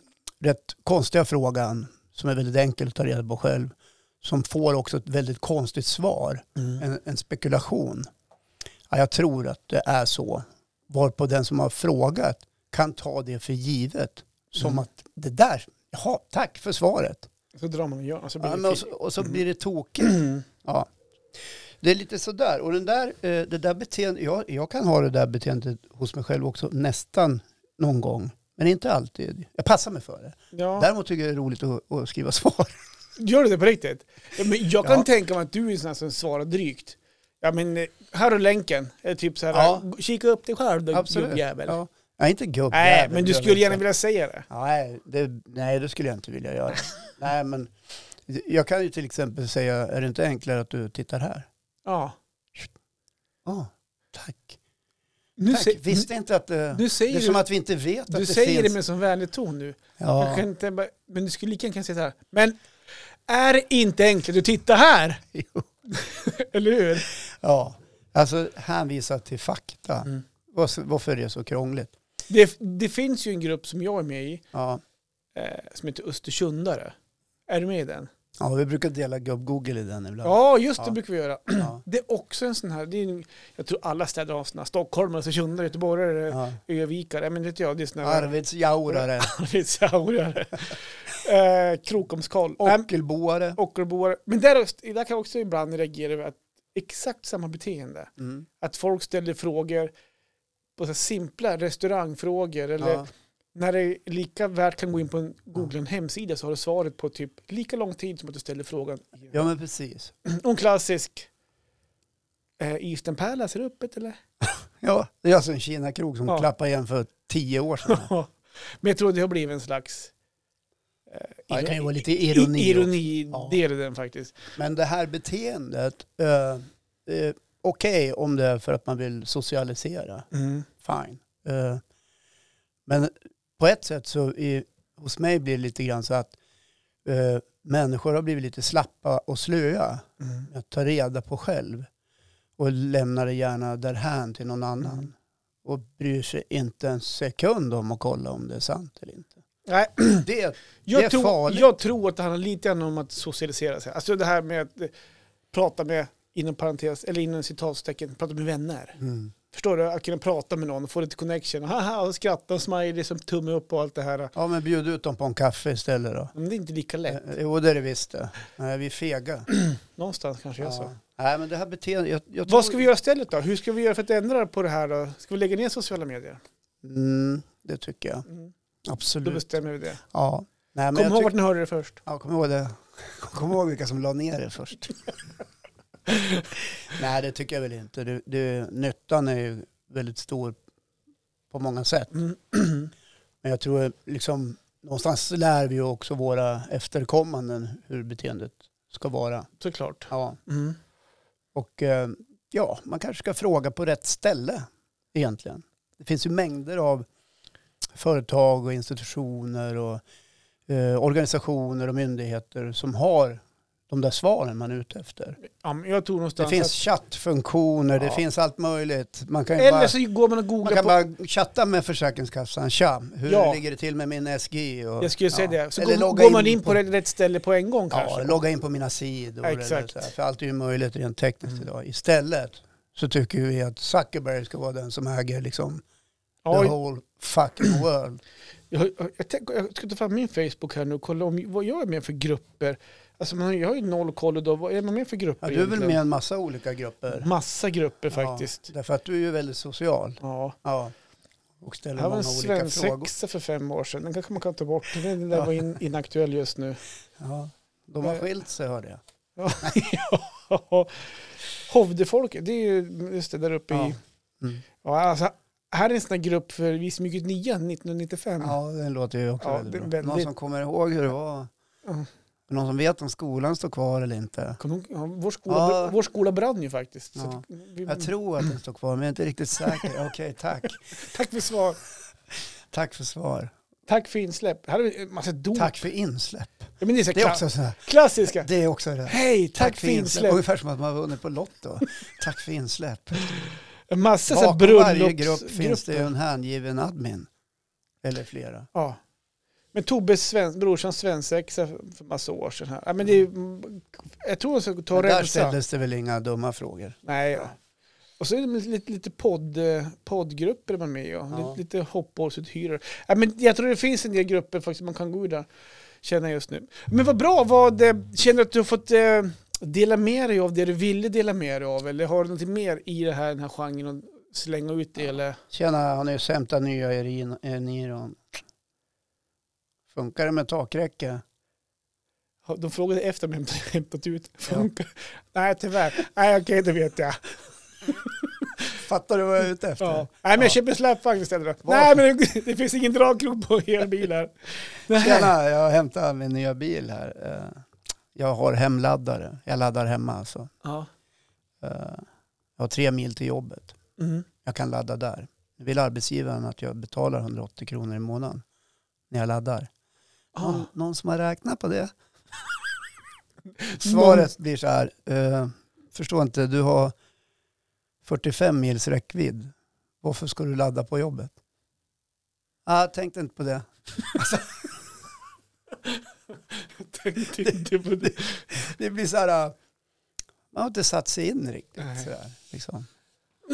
[SPEAKER 1] rätt konstiga frågan som är väldigt enkel att ta reda på själv, som får också ett väldigt konstigt svar.
[SPEAKER 2] Mm.
[SPEAKER 1] en, en spekulation. Ja, jag tror att det är så. Varpå den som har frågat kan ta det för givet. Som
[SPEAKER 2] Mm.
[SPEAKER 1] att det där, jaha, tack för svaret.
[SPEAKER 2] Så drar man och gör och så blir
[SPEAKER 1] Ja,
[SPEAKER 2] det
[SPEAKER 1] men och,
[SPEAKER 2] fel.
[SPEAKER 1] så, och så
[SPEAKER 2] Mm.
[SPEAKER 1] blir det tokigt. Ja. Det är lite sådär. Och den där, eh, det där beteendet, jag, jag kan ha det där beteendet hos mig själv också nästan någon gång. Men inte alltid. Jag passar mig för det.
[SPEAKER 2] *clears throat* Ja.
[SPEAKER 1] Däremot tycker jag det är roligt att, att skriva *laughs* svar.
[SPEAKER 2] Gör du det på riktigt? Ja, men jag kan
[SPEAKER 1] Ja.
[SPEAKER 2] tänka mig att du är en sån här som svarar drygt. Ja men eh, här är länken. Eller typ så här,
[SPEAKER 1] Ja.
[SPEAKER 2] kika upp dig själv då
[SPEAKER 1] Absolut.
[SPEAKER 2] gubbjävel.
[SPEAKER 1] Ja. Nej, inte gubb.
[SPEAKER 2] Nej,
[SPEAKER 1] jävel,
[SPEAKER 2] men du
[SPEAKER 1] gör jag
[SPEAKER 2] skulle
[SPEAKER 1] inte.
[SPEAKER 2] gärna vilja säga det.
[SPEAKER 1] Nej det, nej, det skulle jag inte vilja
[SPEAKER 2] *laughs*
[SPEAKER 1] göra. nej, men jag kan ju till exempel säga, är det inte enklare att du tittar här?
[SPEAKER 2] Ja.
[SPEAKER 1] Ja, tack.
[SPEAKER 2] Nu,
[SPEAKER 1] tack.
[SPEAKER 2] sä-
[SPEAKER 1] Visste inte att det,
[SPEAKER 2] nu, nu säger
[SPEAKER 1] det är
[SPEAKER 2] du,
[SPEAKER 1] som att vi inte vet
[SPEAKER 2] du
[SPEAKER 1] att det
[SPEAKER 2] säger det
[SPEAKER 1] finns.
[SPEAKER 2] med en sån vänlig ton nu. Jag
[SPEAKER 1] ja.
[SPEAKER 2] *laughs* kan inte, bara- men du skulle lika gärna kunna säga så här. Men är det inte enkelt att titta här? *laughs*
[SPEAKER 1] Jo.
[SPEAKER 2] Eller hur?
[SPEAKER 1] ja, alltså hänvisa till fakta.
[SPEAKER 2] Mm.
[SPEAKER 1] Varför, varför är det så krångligt?
[SPEAKER 2] Det, det finns ju en grupp som jag är med i
[SPEAKER 1] Ja,
[SPEAKER 2] eh, som heter Östersundare. Är du med i den?
[SPEAKER 1] ja vi brukar dela gubb-google i den ibland.
[SPEAKER 2] Ja, just det
[SPEAKER 1] Ja. brukar
[SPEAKER 2] brukar vi göra.
[SPEAKER 1] Ja.
[SPEAKER 2] *clears throat* Det är också en sån här, det är, en- jag tror alla städer har såna, stockholmare, Östersundare, göteborgare,
[SPEAKER 1] Ja.
[SPEAKER 2] övikare, men det vet jag, det är såna här
[SPEAKER 1] Arvidsjaurare,
[SPEAKER 2] *laughs* arvidsjaurare, eh, krokomskoll, Nej,
[SPEAKER 1] ockelboare.
[SPEAKER 2] ockelboare. Men där, där kan jag också ibland reagera över att exakt samma beteende.
[SPEAKER 1] Mm.
[SPEAKER 2] Att folk ställer frågor på så här simpla restaurangfrågor eller
[SPEAKER 1] Ja.
[SPEAKER 2] när det lika värt kan gå in på en Google en hemsida så har du svaret på typ lika lång tid som att du ställer frågan. *clears throat*
[SPEAKER 1] ja, men precis.
[SPEAKER 2] Och en klassisk eh, Eastern Palace, är det öppet eller?
[SPEAKER 1] Ja, det är alltså en Kina-krog som
[SPEAKER 2] Ja.
[SPEAKER 1] klappade igen för tio år
[SPEAKER 2] *laughs*
[SPEAKER 1] sedan.
[SPEAKER 2] Men jag tror det har blivit en slags eh,
[SPEAKER 1] Ja, det kan ju vara lite
[SPEAKER 2] i-
[SPEAKER 1] ironi.
[SPEAKER 2] ironi
[SPEAKER 1] också.
[SPEAKER 2] del i den faktiskt.
[SPEAKER 1] Men det här beteendet, eh, eh, okej om det är för att man vill socialisera,
[SPEAKER 2] Mm.
[SPEAKER 1] fine. Eh, men på ett sätt så i, hos mig blir det lite grann så att eh, människor har blivit lite slappa och slöa med att ta reda på själv och lämnar det gärna därhän till någon annan
[SPEAKER 2] Mm.
[SPEAKER 1] och bryr sig inte en sekund om att kolla om det är sant eller
[SPEAKER 2] *clears throat*
[SPEAKER 1] inte.
[SPEAKER 2] Nej,
[SPEAKER 1] Det är Det är
[SPEAKER 2] jag, tror,
[SPEAKER 1] farligt.
[SPEAKER 2] jag tror att det handlar lite grann om att socialisera sig. Alltså det här med att eh, prata med, inom parentes, eller inom citatstecken, prata med vänner. Förstår du? Att kunna prata med någon och få lite connection. Haha, och skratta och smiley som tumme upp och allt det här.
[SPEAKER 1] Ja men bjud ut dem på en kaffe istället då.
[SPEAKER 2] Men det är inte lika lätt.
[SPEAKER 1] Eh, Jo det är det visst det. Nej, vi är fega.
[SPEAKER 2] Någonstans kanske jag så.
[SPEAKER 1] Ja. Nej, men det här beteendet... Jag, jag tror-
[SPEAKER 2] Vad ska vi göra istället då? Hur ska vi göra för att ändra på det här då? Ska vi lägga ner sociala medier?
[SPEAKER 1] Mm, det tycker jag.
[SPEAKER 2] Mm. Då
[SPEAKER 1] Absolut.
[SPEAKER 2] bestämmer vi det.
[SPEAKER 1] Ja. Nej, men
[SPEAKER 2] Kom
[SPEAKER 1] jag
[SPEAKER 2] ihåg
[SPEAKER 1] tyck-
[SPEAKER 2] vart ni hörde det först.
[SPEAKER 1] ja, kom ihåg det. *laughs* Kom ihåg vilka som la ner det
[SPEAKER 2] *laughs*
[SPEAKER 1] först. Nej, det tycker jag väl inte. Det, det, nyttan är ju väldigt stor på många sätt.
[SPEAKER 2] Mm,
[SPEAKER 1] Men jag tror liksom, någonstans lär vi ju också våra efterkommanden hur beteendet ska vara.
[SPEAKER 2] Såklart. Mm.
[SPEAKER 1] Ja. Och eh, ja, man kanske ska fråga på rätt ställe egentligen. Det finns ju mängder av företag och institutioner och eh, organisationer och myndigheter som har de där svaren man är ute efter.
[SPEAKER 2] Ja, men jag tror någonstans
[SPEAKER 1] Det finns chattfunktioner, det
[SPEAKER 2] Ja.
[SPEAKER 1] finns allt möjligt. Man kan
[SPEAKER 2] att,
[SPEAKER 1] ju
[SPEAKER 2] Eller
[SPEAKER 1] bara,
[SPEAKER 2] så går man och
[SPEAKER 1] man
[SPEAKER 2] googlar
[SPEAKER 1] kan
[SPEAKER 2] på...
[SPEAKER 1] bara chatta med Försäkringskassan. Tja, hur
[SPEAKER 2] Ja.
[SPEAKER 1] ligger det till med min SG? Och,
[SPEAKER 2] Jag skulle säga
[SPEAKER 1] ja.
[SPEAKER 2] det. Så
[SPEAKER 1] Eller
[SPEAKER 2] går,
[SPEAKER 1] logga
[SPEAKER 2] går man in
[SPEAKER 1] in
[SPEAKER 2] på,
[SPEAKER 1] på-
[SPEAKER 2] rätt ställe på en gång
[SPEAKER 1] Ja,
[SPEAKER 2] kanske.
[SPEAKER 1] logga in på mina sidor. eller
[SPEAKER 2] Exakt.
[SPEAKER 1] så här, För allt är ju möjligt rent tekniskt
[SPEAKER 2] Mm.
[SPEAKER 1] idag. Istället så tycker vi att Zuckerberg ska vara den som äger liksom the
[SPEAKER 2] Ja,
[SPEAKER 1] whole
[SPEAKER 2] *clears throat*
[SPEAKER 1] fucking world.
[SPEAKER 2] jag, jag, jag, tänker- jag ska ta fram min Facebook här nu och kolla om, vad jag är med för grupper. Alltså man, har- jag har ju noll koll då. Vad är man med för grupper
[SPEAKER 1] Ja, du är väl med i
[SPEAKER 2] egentligen?
[SPEAKER 1] en massa olika grupper?
[SPEAKER 2] Massa grupper faktiskt.
[SPEAKER 1] Ja, därför att du är ju väldigt social.
[SPEAKER 2] Ja.
[SPEAKER 1] Ja. Och
[SPEAKER 2] Det
[SPEAKER 1] ställer
[SPEAKER 2] här var
[SPEAKER 1] många
[SPEAKER 2] en
[SPEAKER 1] olika frågor.
[SPEAKER 2] svensexa för fem år sedan. Den kanske man kan ta bort. Den där
[SPEAKER 1] Ja.
[SPEAKER 2] *laughs* var in, inaktuell just nu.
[SPEAKER 1] Ja. De har skilt sig hörde jag.
[SPEAKER 2] Ja. Hovdefolket, det är ju just det där uppe
[SPEAKER 1] Ja.
[SPEAKER 2] i...
[SPEAKER 1] Mm.
[SPEAKER 2] Ja, alltså, här är en sån här grupp för Vi smyger ut nian 1995.
[SPEAKER 1] Ja, den låter ju också
[SPEAKER 2] Mm. Ja, det
[SPEAKER 1] väldigt bra.
[SPEAKER 2] är väldigt- Mm.
[SPEAKER 1] Någon som kommer ihåg hur det var?
[SPEAKER 2] Ja.
[SPEAKER 1] Någon som vet om skolan står kvar eller inte?
[SPEAKER 2] Kommer du ihåg? ja, vår, skola,
[SPEAKER 1] Ja.
[SPEAKER 2] vår skola brann ju faktiskt. Så
[SPEAKER 1] Ja.
[SPEAKER 2] att vi,
[SPEAKER 1] Jag tror att den står kvar, men jag är inte riktigt säker. Okej, tack.
[SPEAKER 2] Tack för svar.
[SPEAKER 1] Tack för svar.
[SPEAKER 2] Tack för insläpp. Här hade vi en massa dop.
[SPEAKER 1] Tack för insläpp.
[SPEAKER 2] Ja, men det är, så
[SPEAKER 1] Det är
[SPEAKER 2] kla-
[SPEAKER 1] också så här.
[SPEAKER 2] klassiska.
[SPEAKER 1] Det är också det. Tack,
[SPEAKER 2] Hej, tack, för insläpp.
[SPEAKER 1] Ungefär som att man vunnit på Lotto. Tack för insläpp.
[SPEAKER 2] En massa *laughs* så här
[SPEAKER 1] Bakom varje grupp finns det ju
[SPEAKER 2] bröllopsgrupper.
[SPEAKER 1] en hängiven admin. Eller flera.
[SPEAKER 2] Ja. Men Tobbes sven, brorsan svensexa för massa år sedan här. Ja, men det är, ju- jag tror jag ska ta
[SPEAKER 1] Men
[SPEAKER 2] och
[SPEAKER 1] där
[SPEAKER 2] rensa.
[SPEAKER 1] ställdes det väl inga dumma frågor.
[SPEAKER 2] Nej, ja. Och så är det lite, lite podd, eh, poddgrupper man är med i. Ja.
[SPEAKER 1] Ja.
[SPEAKER 2] Lite, lite hoppborgsuthyrare. Ja, men jag tror det finns en del grupper faktiskt man kan gå ur där, känner jag just nu. Men vad bra, vad, eh, känner du att du har fått eh, dela med dig av det du ville dela med dig av? Eller har du något mer i det här, den här genren att slänga ut det? Eller?
[SPEAKER 1] Tjena, har ni sämta nya Erin- Eniron? Funkar det med takräcke?
[SPEAKER 2] Har- De frågade efter om jag hade hämtat ut. Funkar? Nej, tyvärr. Nej, okej, det vet jag.
[SPEAKER 1] Fattar du vad jag är ute efter?
[SPEAKER 2] Ja. Nej, men jag
[SPEAKER 1] Ja.
[SPEAKER 2] köper en släpvagn istället. då.
[SPEAKER 1] Vad?
[SPEAKER 2] Nej, men det, det finns ingen dragkrok på elbilar. Nej.
[SPEAKER 1] Tjena, jag hämtar min nya bil här. Eh, Jag har hemladdare. Jag laddar hemma alltså.
[SPEAKER 2] Ja.
[SPEAKER 1] Eh, Jag har tre mil till jobbet.
[SPEAKER 2] Mm.
[SPEAKER 1] Jag kan ladda där. Nu vill arbetsgivaren att jag betalar 180 kronor i månaden när jag laddar.
[SPEAKER 2] Ah.
[SPEAKER 1] Någon, någon som har räknat på
[SPEAKER 2] *laughs*
[SPEAKER 1] det? Svaret blir så här. Eh, förstår inte, du har 45 mils räckvidd. Varför ska du ladda på jobbet? Ah, jag tänkte inte på det.
[SPEAKER 2] tänkte inte på *laughs* det.
[SPEAKER 1] Det blir så här, eh, man har inte satt sig in riktigt.
[SPEAKER 2] Nej.
[SPEAKER 1] Så där, liksom.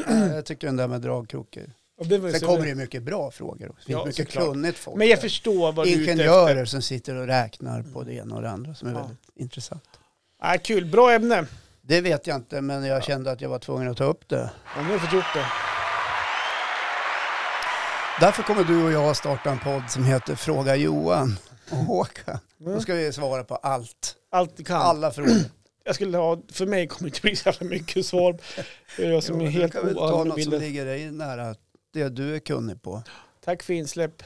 [SPEAKER 1] Eh, jag tycker den där med dragkrokar.
[SPEAKER 2] Ja, det var ju
[SPEAKER 1] Sen
[SPEAKER 2] så-
[SPEAKER 1] kommer det ju mycket bra frågor också. Det finns
[SPEAKER 2] Ja,
[SPEAKER 1] mycket
[SPEAKER 2] såklart.
[SPEAKER 1] kunnigt folk.
[SPEAKER 2] Men jag
[SPEAKER 1] där.
[SPEAKER 2] förstår vad du är ute efter.
[SPEAKER 1] ingenjörer som sitter och räknar på det ena och det andra som är
[SPEAKER 2] Ja.
[SPEAKER 1] väldigt intressant.
[SPEAKER 2] Ah, kul, bra ämne.
[SPEAKER 1] Det vet jag inte, men jag kände att jag var tvungen att ta upp det.
[SPEAKER 2] Ja, nu har du fått gjort det.
[SPEAKER 1] Därför kommer du och jag starta en podd som heter Fråga Johan och Håkan. Då ska vi svara på allt.
[SPEAKER 2] Allt du kan.
[SPEAKER 1] Alla frågor.
[SPEAKER 2] Jag skulle ha, för mig kommer det inte bli så jävla mycket svar.
[SPEAKER 1] *laughs*
[SPEAKER 2] Det är Jag som
[SPEAKER 1] Jo,
[SPEAKER 2] är
[SPEAKER 1] men
[SPEAKER 2] helt
[SPEAKER 1] du kan väl ta något som
[SPEAKER 2] oanvändbar.
[SPEAKER 1] ligger dig nära det du är kunnig på.
[SPEAKER 2] Tack för insläpp.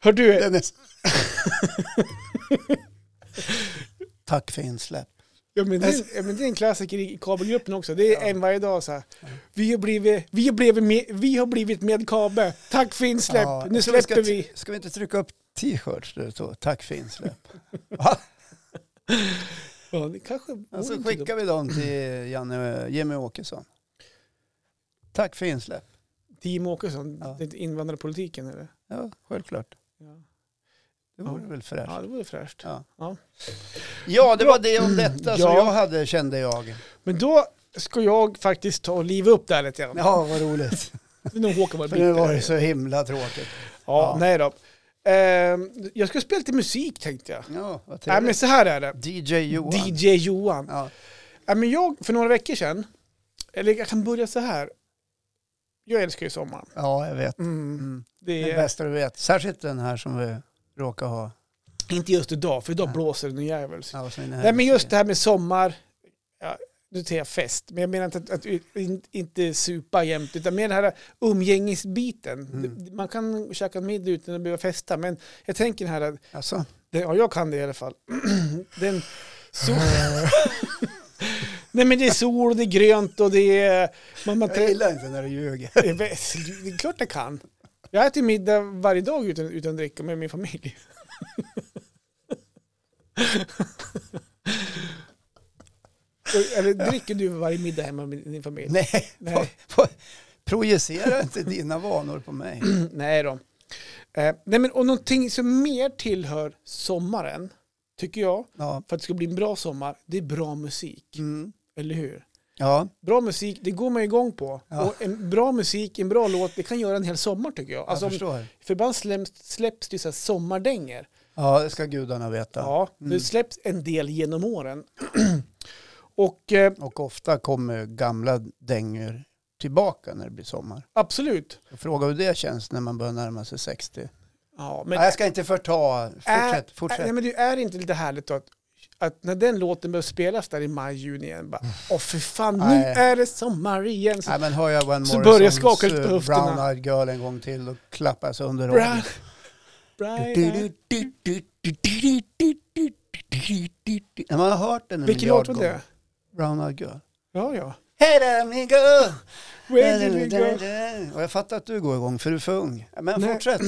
[SPEAKER 2] Hör du,
[SPEAKER 1] Den
[SPEAKER 2] *laughs*
[SPEAKER 1] är... Tack för insläpp.
[SPEAKER 2] ja, men det,
[SPEAKER 1] alltså-
[SPEAKER 2] är, ja, men det är en klassiker i kabelgruppen också. Det är en varje dag så här. Vi har blivit, vi har blivit, med, vi har blivit med kabel. Tack för insläpp.
[SPEAKER 1] Ja,
[SPEAKER 2] nu
[SPEAKER 1] ska vi-
[SPEAKER 2] släpper vi.
[SPEAKER 1] Ska, ska vi inte trycka upp t-shirts? där det står Tack för insläpp. Va?
[SPEAKER 2] Ja, det kanske vore
[SPEAKER 1] Och så
[SPEAKER 2] inte dumt.
[SPEAKER 1] skickar vi dem till Janne, eh, Jimmy Åkesson. Tack för insläpp.
[SPEAKER 2] Team Åkesson,
[SPEAKER 1] Ja.
[SPEAKER 2] det är inte invandrarpolitiken eller?
[SPEAKER 1] Ja, självklart.
[SPEAKER 2] Ja,
[SPEAKER 1] Det vore väl
[SPEAKER 2] ja
[SPEAKER 1] fräscht.
[SPEAKER 2] det vore fräscht.
[SPEAKER 1] Ja.
[SPEAKER 2] Ja.
[SPEAKER 1] ja, det var det om detta som
[SPEAKER 2] Ja.
[SPEAKER 1] jag hade, kände jag.
[SPEAKER 2] Men då ska jag faktiskt ta och liva upp det här lite grann.
[SPEAKER 1] Ja, vad roligt.
[SPEAKER 2] Nu Håkan
[SPEAKER 1] *laughs*
[SPEAKER 2] var
[SPEAKER 1] För nu
[SPEAKER 2] bitter.
[SPEAKER 1] var det så himla tråkigt.
[SPEAKER 2] Ja,
[SPEAKER 1] Ja.
[SPEAKER 2] nej då. Ehm, jag ska spela lite musik tänkte jag.
[SPEAKER 1] Ja, vad
[SPEAKER 2] Nej, men
[SPEAKER 1] trevligt.
[SPEAKER 2] så här är det.
[SPEAKER 1] DJ Johan.
[SPEAKER 2] DJ Johan.
[SPEAKER 1] Ja.
[SPEAKER 2] Ja, men jag, för några veckor sedan, eller jag kan börja så här. Jag älskar ju sommaren.
[SPEAKER 1] ja, jag vet.
[SPEAKER 2] Mm.
[SPEAKER 1] Mm.
[SPEAKER 2] Det
[SPEAKER 1] Det
[SPEAKER 2] är
[SPEAKER 1] bästa du vet. Särskilt den här som vi råkar ha.
[SPEAKER 2] inte just idag, för idag
[SPEAKER 1] Nej.
[SPEAKER 2] blåser det någon jävels.
[SPEAKER 1] Ja, som är den här
[SPEAKER 2] Nej, men just
[SPEAKER 1] musiken.
[SPEAKER 2] det här med sommar. Ja, nu säger jag fest, men jag menar inte att, att in- inte supa jämt, utan mer den här umgängesbiten.
[SPEAKER 1] Mm.
[SPEAKER 2] Det- Man kan käka middag utan att behöva festa, men jag tänker den här, att-
[SPEAKER 1] Alltså,
[SPEAKER 2] det- ja jag kan det i alla fall. *clears throat* den, sol... *laughs* Nej men det är sol, det är grönt och det är... Man, man
[SPEAKER 1] jag gillar inte när du ljuger.
[SPEAKER 2] det är väl- det är klart jag kan. Jag äter middag varje dag utan, utan dricka med min familj. Eller dricker du varje middag hemma med din familj?
[SPEAKER 1] Nej, *laughs*
[SPEAKER 2] Nej.
[SPEAKER 1] Po- po- projicera inte dina vanor på mig.
[SPEAKER 2] Nej då. Eh, nej men, och någonting som mer tillhör sommaren, tycker jag,
[SPEAKER 1] Ja.
[SPEAKER 2] för att det ska bli en bra sommar, det är bra musik.
[SPEAKER 1] Mm.
[SPEAKER 2] Eller hur?
[SPEAKER 1] Ja,
[SPEAKER 2] Bra musik, det går man igång på.
[SPEAKER 1] Ja.
[SPEAKER 2] Och en bra musik, en bra låt, det kan göra en hel sommar tycker jag.
[SPEAKER 1] jag
[SPEAKER 2] Alltså, om-
[SPEAKER 1] förstår.
[SPEAKER 2] För ibland släpps, släpps det ju så här sommardänger.
[SPEAKER 1] Ja, det ska gudarna veta.
[SPEAKER 2] Ja,
[SPEAKER 1] Mm.
[SPEAKER 2] det släpps en del genom åren. *clears throat* och eh,
[SPEAKER 1] Och ofta kommer gamla dängor tillbaka när det blir sommar.
[SPEAKER 2] absolut.
[SPEAKER 1] Fråga hur det känns när man börjar närma sig 60.
[SPEAKER 2] Ja, men,
[SPEAKER 1] Men, jag ska inte förta. Fortsätt.
[SPEAKER 2] Äh,
[SPEAKER 1] fortsätt.
[SPEAKER 2] nej, men det är inte lite härligt då att att när den låten började spelas där i maj, juni igen, bara, åh för fan, nu
[SPEAKER 1] Mm. Nej.
[SPEAKER 2] är det sommar igen. Så,
[SPEAKER 1] Nej, men hör jag Van
[SPEAKER 2] Så börjar jag skaka
[SPEAKER 1] Morrisons
[SPEAKER 2] lite
[SPEAKER 1] eh,
[SPEAKER 2] på höfterna.
[SPEAKER 1] Brown Eyed Girl en gång till och klappa sig under
[SPEAKER 2] Bra-
[SPEAKER 1] rollen.
[SPEAKER 2] Brian,
[SPEAKER 1] Ja, Man har hört den en
[SPEAKER 2] vilken
[SPEAKER 1] miljard
[SPEAKER 2] låt var
[SPEAKER 1] gånger.
[SPEAKER 2] det?
[SPEAKER 1] Brown Eyed Girl.
[SPEAKER 2] Ja, ja.
[SPEAKER 1] Hey there amigo!
[SPEAKER 2] Where did we go?
[SPEAKER 1] Och jag fattar att du går igång för du är för ung. Men
[SPEAKER 2] Nej.
[SPEAKER 1] fortsätt.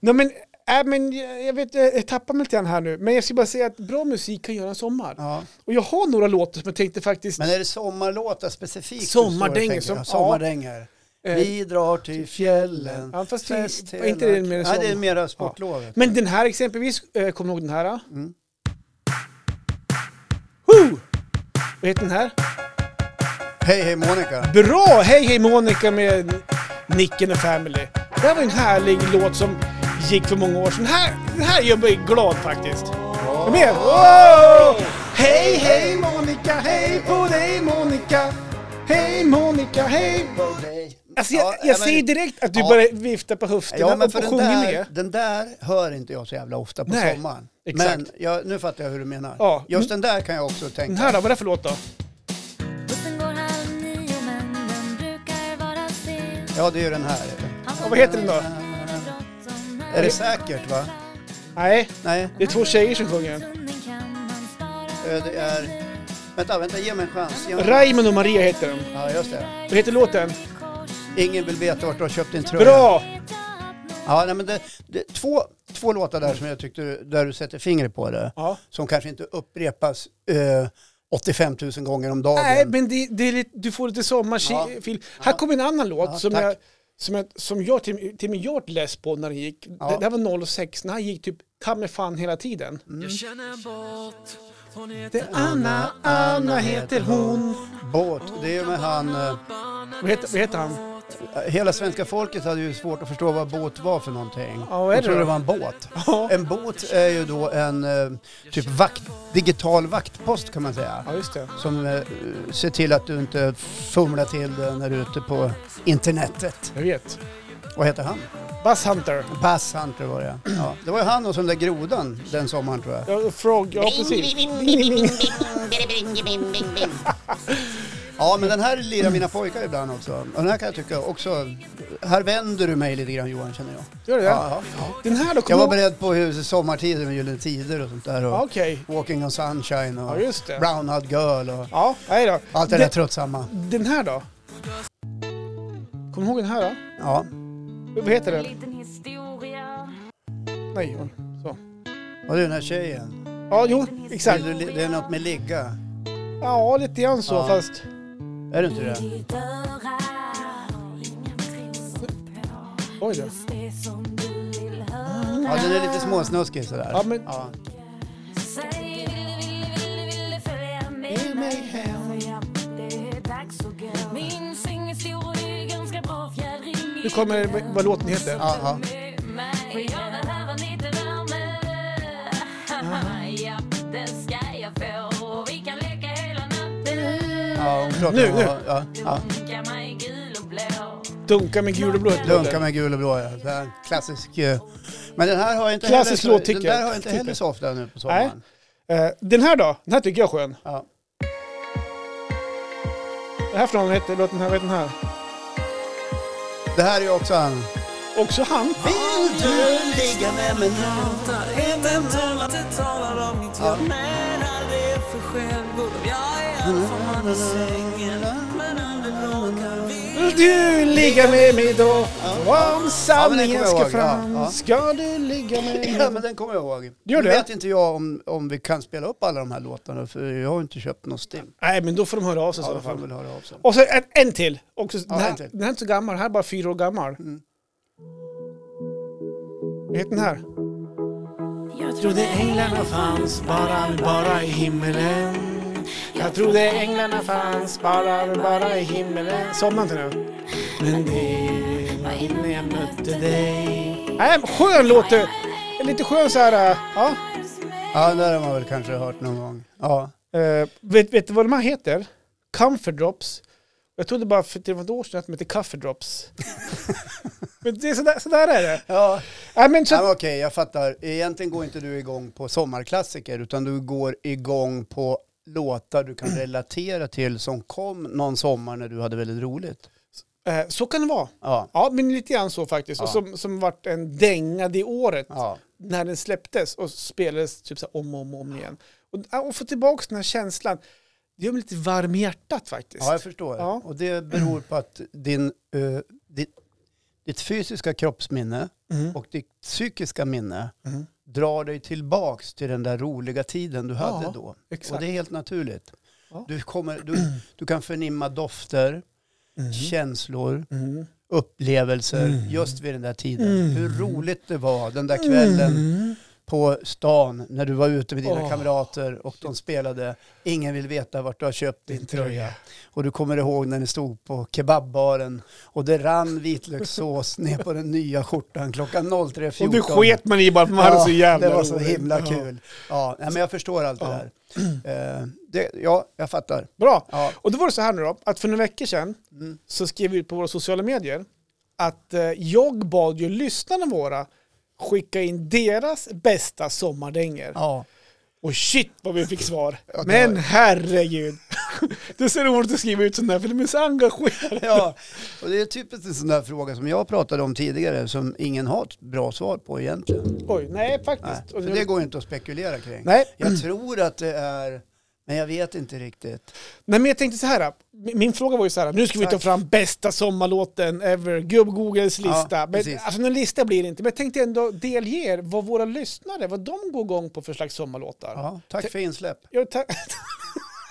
[SPEAKER 2] Nej, men, äh, men jag, jag vet, jag tappar mig lite grann här nu. Men jag ska bara säga att bra musik kan göra en sommar.
[SPEAKER 1] Ja.
[SPEAKER 2] Och jag har några låtar som jag tänkte faktiskt...
[SPEAKER 1] Men är det sommarlåtar specifikt? du
[SPEAKER 2] Sommardängor
[SPEAKER 1] står och tänker?
[SPEAKER 2] som-
[SPEAKER 1] Ja, sommardängor.
[SPEAKER 2] eh,
[SPEAKER 1] Vi drar till fjällen.
[SPEAKER 2] Ja, fast vi-
[SPEAKER 1] fest
[SPEAKER 2] var inte det
[SPEAKER 1] hela-
[SPEAKER 2] mer en
[SPEAKER 1] Nej, det är
[SPEAKER 2] sommar-
[SPEAKER 1] mera sportlovet.
[SPEAKER 2] Men den här exempelvis, eh, kommer du ihåg den här? då?
[SPEAKER 1] Mm.
[SPEAKER 2] Woo! Vad heter den här?
[SPEAKER 1] Hej, hej Monica.
[SPEAKER 2] Bra! Hej hej Monica med Nicken och Family. Det här var en härlig låt som gick för många år sedan. Den här, den här gör mig glad faktiskt. Är du med? Wow! Hej hej Monica, hej på dig Monica. Hej Monica, hej på... Alltså jag,
[SPEAKER 1] Ja,
[SPEAKER 2] jag
[SPEAKER 1] men-
[SPEAKER 2] ser direkt att du
[SPEAKER 1] Ja.
[SPEAKER 2] börjar vifta på höfterna
[SPEAKER 1] Ja, men
[SPEAKER 2] och,
[SPEAKER 1] för
[SPEAKER 2] och
[SPEAKER 1] den
[SPEAKER 2] sjunger
[SPEAKER 1] där,
[SPEAKER 2] med.
[SPEAKER 1] den där hör inte jag så jävla ofta på
[SPEAKER 2] Nej,
[SPEAKER 1] sommaren.
[SPEAKER 2] exakt.
[SPEAKER 1] Men jag, nu fattar jag hur du menar.
[SPEAKER 2] Ja, Mm.
[SPEAKER 1] Just den där kan jag också tänka.
[SPEAKER 2] Den här då, vad är det för låt då?
[SPEAKER 3] Bussen går halv nio men den brukar vara sen.
[SPEAKER 1] Ja, det är ju den här.
[SPEAKER 3] Han
[SPEAKER 2] Ja, vad heter den då?
[SPEAKER 3] bråttom
[SPEAKER 1] Är det säkert va?
[SPEAKER 2] Nej,
[SPEAKER 1] Nej,
[SPEAKER 2] det är två tjejer som sjunger den.
[SPEAKER 3] stunden kan man spara
[SPEAKER 1] eh, det är... Vänta, vänta, ge mig en chans. Ge mig... en-
[SPEAKER 2] Raymond och Maria heter den.
[SPEAKER 1] Ja, just det.
[SPEAKER 2] Vad heter låten?
[SPEAKER 1] Ingen vill veta vart du har köpt din tröja.
[SPEAKER 2] Bra!
[SPEAKER 1] Ja, nej, men det, det, två, två låtar där som jag tyckte du- där du sätter fingret på det.
[SPEAKER 2] Ja.
[SPEAKER 1] Som kanske inte upprepas eh, 85 000 gånger om dagen.
[SPEAKER 2] Nej, men det, det är lite, du får lite sommarfil. Här kommer en annan låt
[SPEAKER 1] Ja,
[SPEAKER 2] som,
[SPEAKER 1] tack.
[SPEAKER 2] jag, som, jag, som jag till, till min hjärt läs på när den gick.
[SPEAKER 1] Ja.
[SPEAKER 2] Det, det här var 06, när han gick typ ta mig fan hela tiden.
[SPEAKER 1] Mm.
[SPEAKER 4] Jag känner bort, hon är
[SPEAKER 2] Det är Anna, Anna heter hon.
[SPEAKER 1] Båt, det är ju med han... Eh,
[SPEAKER 2] Vad heter, vad heter han?
[SPEAKER 1] hela svenska folket hade ju svårt att förstå vad båt var för någonting.
[SPEAKER 2] Ja, vad
[SPEAKER 1] De
[SPEAKER 2] är det
[SPEAKER 1] trodde
[SPEAKER 2] då?
[SPEAKER 1] det var en båt.
[SPEAKER 2] Ja,
[SPEAKER 1] En båt är ju då en eh, typ vakt, digital vaktpost kan man säga.
[SPEAKER 2] ja just det.
[SPEAKER 1] Som eh, ser till att du inte fumlar till det när du är ute på internetet.
[SPEAKER 2] Jag vet.
[SPEAKER 1] Vad heter han?
[SPEAKER 2] Bass Hunter.
[SPEAKER 1] Bass Hunter var det ja. Det var ju han och så den där grodan den sommaren tror jag. *laughs*
[SPEAKER 2] Ja, Frog, ja precis.
[SPEAKER 1] Ja, men den här lirar mina pojkar ibland också. Och den här kan jag tycka också... Här vänder du mig lite grann Johan, känner jag.
[SPEAKER 2] Gör det?
[SPEAKER 1] Ja,
[SPEAKER 2] Den här då?
[SPEAKER 1] Jag
[SPEAKER 2] kommer
[SPEAKER 1] var
[SPEAKER 2] du ihåg-
[SPEAKER 1] beredd på hur sommartider med Gyllene Tider och sånt där.
[SPEAKER 2] Ja,
[SPEAKER 1] Och
[SPEAKER 2] Okej.
[SPEAKER 1] Walking on Sunshine och
[SPEAKER 2] Ja, just det.
[SPEAKER 1] Brown Eyed Girl och
[SPEAKER 2] Ja, nej då.
[SPEAKER 1] allt det där
[SPEAKER 2] Den,
[SPEAKER 1] tröttsamma.
[SPEAKER 2] den här då? Kommer du ihåg den här då?
[SPEAKER 1] Ja,
[SPEAKER 2] Vad heter
[SPEAKER 3] En
[SPEAKER 2] den?
[SPEAKER 3] liten historia.
[SPEAKER 2] Nej, så.
[SPEAKER 1] och det är den här tjejen.
[SPEAKER 2] Ja, jo, exakt.
[SPEAKER 1] Vill du li- Det är något med ligga.
[SPEAKER 2] Ja, lite grann så
[SPEAKER 1] Ja.
[SPEAKER 2] fast.
[SPEAKER 1] Är det inte det?
[SPEAKER 3] Vill du höra? Ingen trivs på.
[SPEAKER 2] Oj då.
[SPEAKER 3] Det som du vill höra.
[SPEAKER 1] Ja, den är lite småsnuskig sådär.
[SPEAKER 2] Ja, men-
[SPEAKER 1] Ja.
[SPEAKER 3] Säg, vill du, vill du, vill du, vill du följa med mig hem? För ja, det är dags att gå. Min singelhistoria är ganska bra fjädring.
[SPEAKER 2] Nu kommer vad- vad låten heter.
[SPEAKER 1] Ja, ja.
[SPEAKER 3] För jag behöver lite värme *laughs* Ja, det ska jag få Och vi kan leka hela natten
[SPEAKER 1] Ja, hon pratar
[SPEAKER 2] Nu,
[SPEAKER 1] om-
[SPEAKER 2] nu.
[SPEAKER 1] Ja, ja.
[SPEAKER 3] Dunka mig gul och blå
[SPEAKER 2] Dunka med gul och blå heter
[SPEAKER 1] Dunka
[SPEAKER 2] låten.
[SPEAKER 1] med gul och blå, ja. Så här, klassisk. eh. Men den här har jag inte
[SPEAKER 2] Klassisk
[SPEAKER 1] heller,
[SPEAKER 2] låt,
[SPEAKER 1] så, den
[SPEAKER 2] tycker
[SPEAKER 1] där
[SPEAKER 2] jag.
[SPEAKER 1] har jag inte heller så ofta nu på
[SPEAKER 2] Nej.
[SPEAKER 1] sommaren.
[SPEAKER 2] Eh, Den här då? Den här tycker jag är skön.
[SPEAKER 1] Ja.
[SPEAKER 2] Det här från heter låten här, vad heter den här?
[SPEAKER 1] Det här är ju också han.
[SPEAKER 2] Också han.
[SPEAKER 1] Vill du ligga med mig nu?
[SPEAKER 4] Inte en tull att det talar om mitt jag menar det är för självgod Om jag är alfaman i sängen Men aldrig vågar vi
[SPEAKER 2] Vill du ligga med mig då? Om
[SPEAKER 1] Ja, men
[SPEAKER 2] sanningen
[SPEAKER 1] den kommer jag
[SPEAKER 2] ska
[SPEAKER 1] ihåg.
[SPEAKER 2] fram.
[SPEAKER 1] Ja, ja.
[SPEAKER 2] Ska du ligga
[SPEAKER 1] Ja,
[SPEAKER 2] med
[SPEAKER 1] men
[SPEAKER 2] mig?
[SPEAKER 1] den kommer jag ihåg. nu
[SPEAKER 2] Gör det?
[SPEAKER 1] vet inte jag om, om vi kan spela upp alla de här låtarna för jag har inte köpt någon stim.
[SPEAKER 2] Nej, men då får de höra av sig i
[SPEAKER 1] Ja,
[SPEAKER 2] så
[SPEAKER 1] då får
[SPEAKER 2] fall.
[SPEAKER 1] de väl höra av sig.
[SPEAKER 2] Och så en, en till. Också, den, här,
[SPEAKER 1] en till. Mm.
[SPEAKER 2] den här är inte så gammal, den här är bara fyra år gammal. Vad heter den här?
[SPEAKER 3] Jag
[SPEAKER 4] Trodde änglarna fanns bara, bara i himmelen
[SPEAKER 2] Jag trodde änglarna fanns bara, bara i himmelen. Somnar inte nu.
[SPEAKER 4] Men det var innan jag mötte dig
[SPEAKER 2] Nej, men skön låt du. Lite skön så här. äh, Ja.
[SPEAKER 1] Ja, den där har man väl kanske hört någon gång. Ja,
[SPEAKER 2] Eh, vet, vet du vad de här heter?
[SPEAKER 1] *laughs*
[SPEAKER 2] Comfort drops. Jag trodde bara för till och med ett år sedan att de hette Coffee drops. Men det är sådär, sådär är det.
[SPEAKER 1] Ja.
[SPEAKER 2] Nej, men så,
[SPEAKER 1] Ja, men Okej, jag fattar. Egentligen går inte du igång på sommarklassiker utan du går igång på låtar du kan relatera till som kom någon sommar när du hade väldigt roligt.
[SPEAKER 2] eh, så kan det vara.
[SPEAKER 1] Ja. alltså,
[SPEAKER 2] Ja, men lite grann så faktiskt. Och
[SPEAKER 1] Ja.
[SPEAKER 2] som, som vart en dänga det året
[SPEAKER 1] ja.
[SPEAKER 2] när den släpptes och spelades typ så här om och om, och om igen. Och, ja, och få tillbaka den här känslan, det gör mig lite varm i hjärtat faktiskt.
[SPEAKER 1] Ja, jag förstår.
[SPEAKER 2] Ja.
[SPEAKER 1] Och det beror på att din, eh, ditt, ditt fysiska kroppsminne
[SPEAKER 2] Mm.
[SPEAKER 1] och ditt psykiska minne
[SPEAKER 2] Mm.
[SPEAKER 1] drar dig tillbaks till den där roliga tiden du hade
[SPEAKER 2] Ja,
[SPEAKER 1] då.
[SPEAKER 2] exakt.
[SPEAKER 1] Och det är helt naturligt.
[SPEAKER 2] Ja.
[SPEAKER 1] Du, kommer, du, du kan förnimma dofter,
[SPEAKER 2] Mm.
[SPEAKER 1] känslor,
[SPEAKER 2] Mm.
[SPEAKER 1] upplevelser just vid den där tiden. Hur roligt det var den där kvällen på stan när du var ute med dina
[SPEAKER 2] Mm. Åh.
[SPEAKER 1] kamrater och de spelade Ingen vill veta vart du har köpt din tröja. Och du kommer ihåg när ni stod på kebabbaren och det rann
[SPEAKER 2] *laughs*
[SPEAKER 1] vitlökssås ner på den nya skjortan klockan 03.14.
[SPEAKER 2] Och det sket man i bara för man hade så jävla
[SPEAKER 1] Det var så
[SPEAKER 2] roligt.
[SPEAKER 1] himla
[SPEAKER 2] Ja.
[SPEAKER 1] kul. Ja, nej, men jag förstår allt det där. Eh, det, ja, jag fattar.
[SPEAKER 2] Bra.
[SPEAKER 1] Ja.
[SPEAKER 2] Och då var det så här nu då, att för några veckor sedan
[SPEAKER 1] Mm.
[SPEAKER 2] så skrev vi ut på våra sociala medier att eh, jag bad ju lyssnarna våra skicka in deras bästa sommardängor.
[SPEAKER 1] Ja.
[SPEAKER 2] Och shit vad vi fick svar.
[SPEAKER 1] det
[SPEAKER 2] Men
[SPEAKER 1] var-
[SPEAKER 2] herregud. *laughs* det är så roligt att skriva ut sådana här för de är så engagerade.
[SPEAKER 1] *laughs* Ja, och det är typiskt en sån där fråga som jag pratade om tidigare som ingen har ett bra svar på egentligen.
[SPEAKER 2] Oj, nej
[SPEAKER 1] Nej,
[SPEAKER 2] faktiskt. Och
[SPEAKER 1] för det går ju inte att spekulera kring.
[SPEAKER 2] nej.
[SPEAKER 1] Jag tror att det är, men jag vet inte riktigt.
[SPEAKER 2] nej, men jag tänkte så här. Min min fråga var ju så här, nu ska vi ta
[SPEAKER 1] Tack.
[SPEAKER 2] fram bästa sommarlåten ever, gubb-Googles lista. men,
[SPEAKER 1] precis.
[SPEAKER 2] alltså någon lista blir det inte, men jag tänkte ändå delge er vad våra lyssnare, vad de går igång på för slags sommarlåtar.
[SPEAKER 1] Ja, tack för insläpp.
[SPEAKER 2] Ja, ta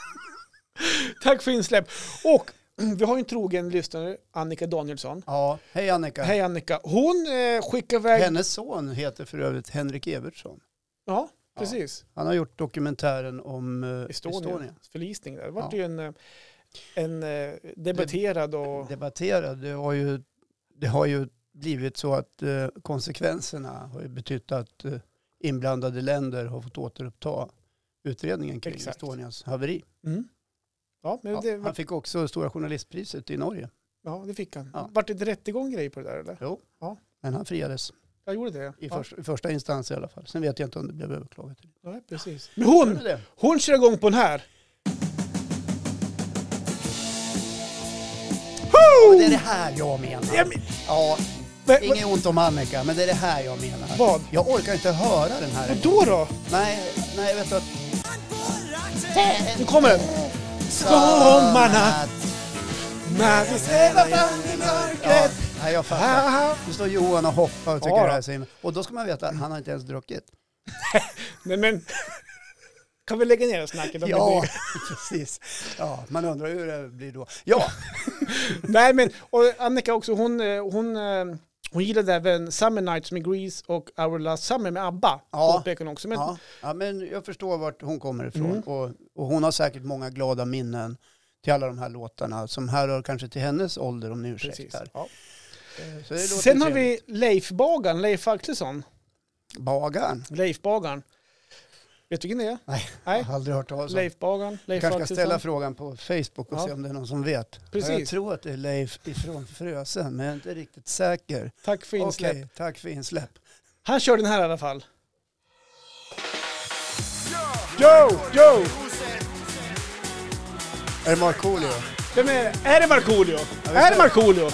[SPEAKER 2] *laughs* Tack för insläpp. Och *clears throat* vi har ju en trogen lyssnare, Annika Danielsson.
[SPEAKER 1] Ja, hej Annika.
[SPEAKER 2] Hej Annika. Hon eh, skickar iväg...
[SPEAKER 1] Hennes son heter för övrigt Henrik Evertsson.
[SPEAKER 2] Ja, precis.
[SPEAKER 1] Han har gjort dokumentären om eh,
[SPEAKER 2] Estonia.
[SPEAKER 1] Estonia.
[SPEAKER 2] Förlisning där. Det var
[SPEAKER 1] Ja.
[SPEAKER 2] ju en, eh, en eh, debatterad och...
[SPEAKER 1] Debatterad, det har ju, det har ju blivit så att eh, konsekvenserna har ju betytt att eh, inblandade länder har fått återuppta utredningen kring
[SPEAKER 2] Exakt.
[SPEAKER 1] Estonias haveri.
[SPEAKER 2] Mm. Ja, men
[SPEAKER 1] Ja,
[SPEAKER 2] det,
[SPEAKER 1] han
[SPEAKER 2] var,
[SPEAKER 1] fick också Stora Journalistpriset i Norge.
[SPEAKER 2] ja, det fick han.
[SPEAKER 1] Ja.
[SPEAKER 2] Vart det rättegång grej på det där eller?
[SPEAKER 1] Jo.
[SPEAKER 2] Ja.
[SPEAKER 1] Men han friades
[SPEAKER 2] Jag gjorde det.
[SPEAKER 1] i,
[SPEAKER 2] ja.
[SPEAKER 1] förs- i första instans i alla fall. Sen vet jag inte om det blev överklagat.
[SPEAKER 2] Ja, precis. Men hon,
[SPEAKER 1] Gjorde det?
[SPEAKER 2] hon kör igång på den här.
[SPEAKER 1] Ja, men det är det här jag menar.
[SPEAKER 2] Ja, men-
[SPEAKER 1] Ja,
[SPEAKER 2] Men-
[SPEAKER 1] inget ont om Annika, men det är det här jag menar.
[SPEAKER 2] Vad?
[SPEAKER 1] Jag orkar inte höra den här.
[SPEAKER 2] Och då då?
[SPEAKER 1] Nej, nej, vet du att...
[SPEAKER 2] Nu kommer den. Sommarnatt, när vi svävar fram i
[SPEAKER 1] Ja,
[SPEAKER 2] mörkret.
[SPEAKER 1] nej, jag fattar.
[SPEAKER 2] Ah,
[SPEAKER 1] Nu står Johan och hoppar och tycker
[SPEAKER 2] Ja,
[SPEAKER 1] det här
[SPEAKER 2] då.
[SPEAKER 1] är så himla- Och då ska man veta att han har inte ens druckit.
[SPEAKER 2] Nej men, *laughs* kan vi lägga ner det här snacket? om
[SPEAKER 1] Ja,
[SPEAKER 2] det?
[SPEAKER 1] *laughs* precis. Ja, man undrar hur det blir då.
[SPEAKER 2] *laughs*
[SPEAKER 1] Ja,
[SPEAKER 2] Nej men, och Annika också, hon, eh, hon, eh, hon gillade även Summer Nights med Grease och Our Last Summer med ABBA.
[SPEAKER 1] Ja.
[SPEAKER 2] Påpekar hon också. Men,
[SPEAKER 1] ja. ja men jag förstår vart hon kommer ifrån.
[SPEAKER 2] Mm.
[SPEAKER 1] Och, och hon har säkert många glada minnen till alla de här låtarna som härrör kanske till hennes ålder om ni
[SPEAKER 2] precis.
[SPEAKER 1] ursäktar. Eh,
[SPEAKER 2] Ja.
[SPEAKER 1] Så det låter
[SPEAKER 2] Sen har
[SPEAKER 1] trevligt.
[SPEAKER 2] vi Leif Bagan, Leif Axelsson.
[SPEAKER 1] Bagaren?
[SPEAKER 2] Leif Bagan. Vet du vilken det är?
[SPEAKER 1] Nej,
[SPEAKER 2] Nej.
[SPEAKER 1] jag har aldrig hört talas om. Leif
[SPEAKER 2] Leif Bagan, Leif
[SPEAKER 1] kanske ska ställa
[SPEAKER 2] Axelsson.
[SPEAKER 1] frågan på Facebook och
[SPEAKER 2] Ja.
[SPEAKER 1] se om det är någon som vet.
[SPEAKER 2] Precis.
[SPEAKER 1] Jag tror att det är Leif ifrån Frösön, men jag är inte riktigt säker.
[SPEAKER 2] Tack för insläpp.
[SPEAKER 1] Okej, tack för insläpp.
[SPEAKER 2] Han kör den här i alla fall. Yo, yo!
[SPEAKER 1] Är det Markoolio?
[SPEAKER 2] Vem är det? Är det Markoolio? Är det Markoolio?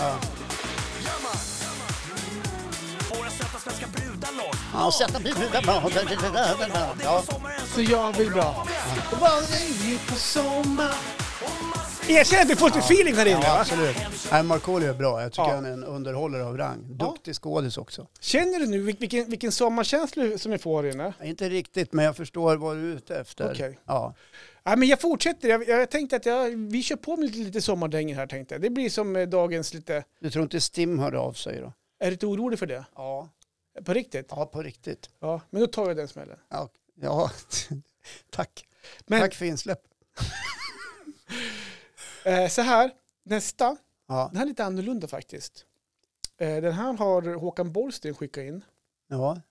[SPEAKER 4] Våra söta svenska brudarlag.
[SPEAKER 1] Ja, sätta
[SPEAKER 4] Ja. Sommaren
[SPEAKER 2] Så jag vill bra. Vad ringer på sommar? Erkänn att vi får lite feeling här inne
[SPEAKER 1] Ja,
[SPEAKER 2] va?
[SPEAKER 1] absolut. Nej, Markoolio är bra. Jag tycker
[SPEAKER 2] Ja.
[SPEAKER 1] han är en underhållare av rang. Duktig skådis också.
[SPEAKER 2] Känner du nu vil- vilken, vilken sommarkänsla som vi får här inne?
[SPEAKER 1] Inte riktigt, men jag förstår vad du är ute efter.
[SPEAKER 2] Okej.
[SPEAKER 1] Ja.
[SPEAKER 2] Ja, men jag fortsätter. Jag, jag tänkte att jag, vi kör på med lite, lite sommardängor här tänkte jag. Det blir som eh, dagens lite...
[SPEAKER 1] Du tror inte Stim hörde av sig då?
[SPEAKER 2] Är du lite orolig för det?
[SPEAKER 1] Ja.
[SPEAKER 2] På riktigt?
[SPEAKER 1] Ja, på riktigt.
[SPEAKER 2] Ja, men då tar jag den smällen.
[SPEAKER 1] Ja, ja. *laughs* tack.
[SPEAKER 2] Men-
[SPEAKER 1] Tack för insläpp.
[SPEAKER 2] Eh, så här, nästa.
[SPEAKER 1] Ja.
[SPEAKER 2] Den här är lite annorlunda faktiskt. Eh, den här har Håkan Borgsten skickat in.
[SPEAKER 1] ja.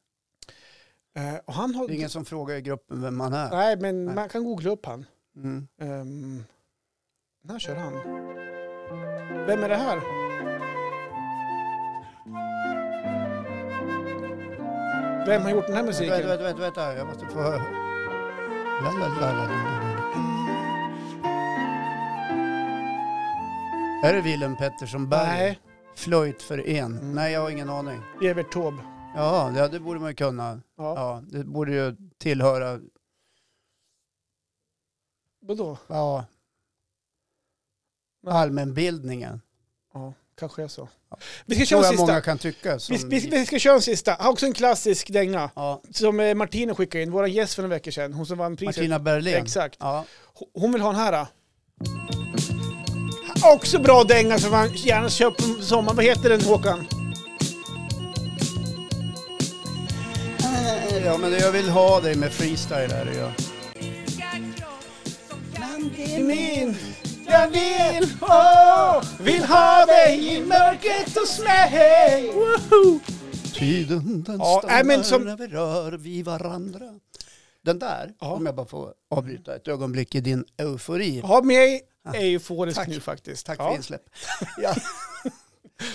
[SPEAKER 2] Eh, och han har...
[SPEAKER 1] Det är ingen som frågar i gruppen vem man är.
[SPEAKER 2] Nej, men
[SPEAKER 1] Nej.
[SPEAKER 2] man kan googla upp han.
[SPEAKER 1] Mm.
[SPEAKER 2] Ehm, när kör han? Vem är det här? Vem har gjort den här
[SPEAKER 1] Vänta,
[SPEAKER 2] musiken?
[SPEAKER 1] vänta, vänta, vänta. Jag måste få höra. La, la, la, la, la, la. Är det Willem Pettersson Berg?
[SPEAKER 2] Nej, Mm.
[SPEAKER 1] Flöjt för en. Nej, jag har ingen aning.
[SPEAKER 2] Evert Taube.
[SPEAKER 1] Ja, det, det borde man ju kunna.
[SPEAKER 2] Ja.
[SPEAKER 1] Ja, det borde ju tillhöra...
[SPEAKER 2] Vadå?
[SPEAKER 1] Ja. Allmänbildningen.
[SPEAKER 2] Ja, kanske jag så.
[SPEAKER 1] Ja.
[SPEAKER 2] Vi ska
[SPEAKER 1] Tror
[SPEAKER 2] köra en
[SPEAKER 1] jag
[SPEAKER 2] sista.
[SPEAKER 1] många kan tycka. Som...
[SPEAKER 2] Vi, vi, vi ska köra en sista. Har Också en klassisk dänga.
[SPEAKER 1] Ja,
[SPEAKER 2] Som eh, Martina skickade in, vår gäst för några veckor sedan. Hon som vann priset.
[SPEAKER 1] Martina Berlin.
[SPEAKER 2] Exakt.
[SPEAKER 1] Ja.
[SPEAKER 2] H- Hon vill ha den här. Då. Också bra dänga som man gärna kör på sommaren. Vad heter den Håkan?
[SPEAKER 1] ja, men jag vill ha dig med freestyle här. Ja.
[SPEAKER 2] Min, jag vill, oh, vill ha dig i mörkret och smäll. Woho!
[SPEAKER 1] Tiden den
[SPEAKER 2] Ja,
[SPEAKER 1] stannar
[SPEAKER 2] nej, men som-
[SPEAKER 1] när vi rör vid varandra. Den där,
[SPEAKER 2] Ja.
[SPEAKER 1] om jag bara får avbryta ett ögonblick i din eufori.
[SPEAKER 2] Ha mig euforisk
[SPEAKER 1] Tack.
[SPEAKER 2] nu faktiskt.
[SPEAKER 1] Tack
[SPEAKER 2] ja.
[SPEAKER 1] för insläpp. Ja. *laughs*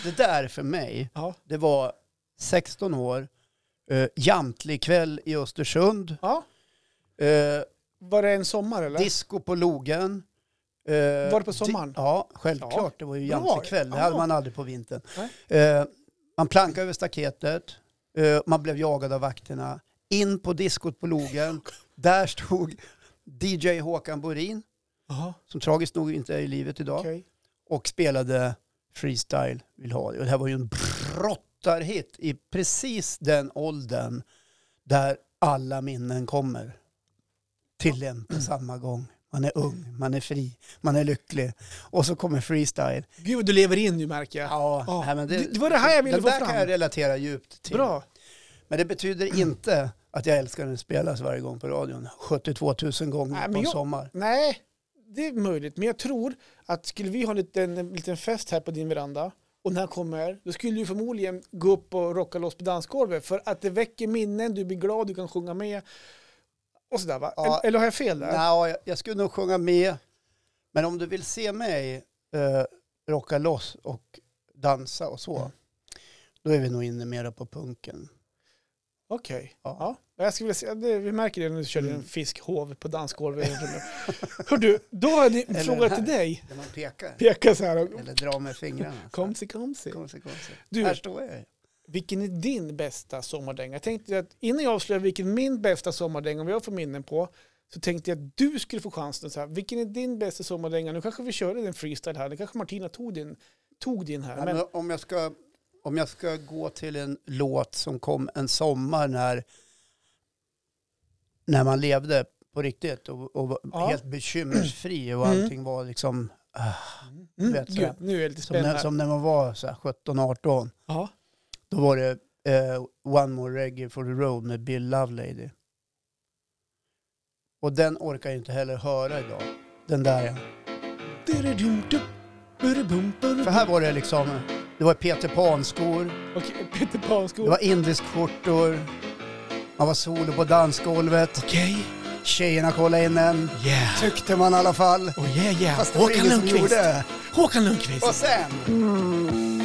[SPEAKER 1] Det där för mig,
[SPEAKER 2] Ja.
[SPEAKER 1] det var 16 år, eh, jamtlig kväll i Östersund,
[SPEAKER 2] ja.
[SPEAKER 1] eh,
[SPEAKER 2] Var det en sommar eller?
[SPEAKER 1] disco på logen. eh,
[SPEAKER 2] Var det på sommaren?
[SPEAKER 1] di- Ja, självklart.
[SPEAKER 2] Ja.
[SPEAKER 1] Det var ju
[SPEAKER 2] Bra.
[SPEAKER 1] jamtlig kväll, det
[SPEAKER 2] Ja.
[SPEAKER 1] hade man aldrig på vintern. Eh, man plankade över staketet, eh, man blev jagad av vakterna. In på diskot på logen, där stod *laughs* DJ Håkan Borin,
[SPEAKER 2] Jaha,
[SPEAKER 1] som tragiskt nog inte är i livet idag.
[SPEAKER 2] okej.
[SPEAKER 1] och spelade Freestyle vill ha dig. Och det här var ju en brottarhit i precis den åldern där alla minnen kommer till en på samma gång. Man är ung, man är fri, man är lycklig. Och så kommer freestyle.
[SPEAKER 2] Gud, du lever in nu märker jag.
[SPEAKER 1] Ja,
[SPEAKER 2] Ja.
[SPEAKER 1] nej, men
[SPEAKER 2] Det- det var det här jag ville
[SPEAKER 1] den
[SPEAKER 2] få
[SPEAKER 1] där
[SPEAKER 2] fram.
[SPEAKER 1] kan jag relatera djupt till.
[SPEAKER 2] Bra.
[SPEAKER 1] Men det betyder inte att jag älskar när den spelas varje gång på radion. 72 000 gånger
[SPEAKER 2] Nej, men
[SPEAKER 1] på en
[SPEAKER 2] jag-
[SPEAKER 1] sommar.
[SPEAKER 2] Nej, det är möjligt. Men jag tror att skulle vi ha en liten, en liten fest här på din veranda och när han kommer, då skulle du förmodligen gå upp och rocka loss på dansgolvet för att det väcker minnen, du blir glad, du kan sjunga med och sådär va?
[SPEAKER 1] Ja.
[SPEAKER 2] Eller, eller har jag fel där?
[SPEAKER 1] Nej, jag, jag skulle nog sjunga med. Men om du vill se mig eh, rocka loss och dansa och så,
[SPEAKER 2] Mm.
[SPEAKER 1] då är vi nog inne mera på punken.
[SPEAKER 2] Okej.
[SPEAKER 1] Ja.
[SPEAKER 2] Ja. Jag skulle vilja säga, det, vi märker det när du körde
[SPEAKER 1] Mm.
[SPEAKER 2] en fiskhov på dansgolvet. Hör du, då har jag en
[SPEAKER 1] *laughs* Eller
[SPEAKER 2] fråga
[SPEAKER 1] den
[SPEAKER 2] till
[SPEAKER 1] här.
[SPEAKER 2] dig.
[SPEAKER 1] När man pekar
[SPEAKER 2] Peka så här. och-
[SPEAKER 1] eller drar med fingrarna.
[SPEAKER 2] *laughs* Kom sig, kom sig.
[SPEAKER 1] kom, se, kom se.
[SPEAKER 2] Du.
[SPEAKER 1] Här står jag. ju.
[SPEAKER 2] Vilken är din bästa sommardänga? Jag tänkte att innan jag avslöjar vilken min bästa sommardänga vad jag får minnen på så tänkte jag att du skulle få chansen. Så här, vilken är din bästa sommardänga? Nu kanske vi körde din freestyle här. Nu kanske Martina tog din, tog din här.
[SPEAKER 1] Nej,
[SPEAKER 2] Men,
[SPEAKER 1] men om, jag ska, om jag ska gå till en låt som kom en sommar när, när man levde på riktigt och, och var
[SPEAKER 2] Ja.
[SPEAKER 1] helt bekymmersfri och
[SPEAKER 2] Mm.
[SPEAKER 1] allting var liksom
[SPEAKER 2] mm,
[SPEAKER 1] vet, så
[SPEAKER 2] gud,
[SPEAKER 1] här.
[SPEAKER 2] nu är jag lite
[SPEAKER 1] som när,
[SPEAKER 2] spänd här.
[SPEAKER 1] som när man var så här 17-18.
[SPEAKER 2] Ja.
[SPEAKER 1] Då var det eh, One More Reggae for the Road med Bill Lovelady. Och den orkar jag inte heller höra idag. Den där ja. För här var det liksom, det var Peter Pan-skor,
[SPEAKER 2] Okej, Peter
[SPEAKER 1] det
[SPEAKER 2] Panskog.
[SPEAKER 1] var indiskskjortor, man var solo på dansgolvet,
[SPEAKER 2] Okej.
[SPEAKER 1] tjejerna kollade in en,
[SPEAKER 2] Yeah.
[SPEAKER 1] tyckte man i alla fall.
[SPEAKER 2] Oh yeah yeah.
[SPEAKER 1] Fast det var ingen som gjorde det.
[SPEAKER 2] Håkan Lundqvist.
[SPEAKER 1] Och sen,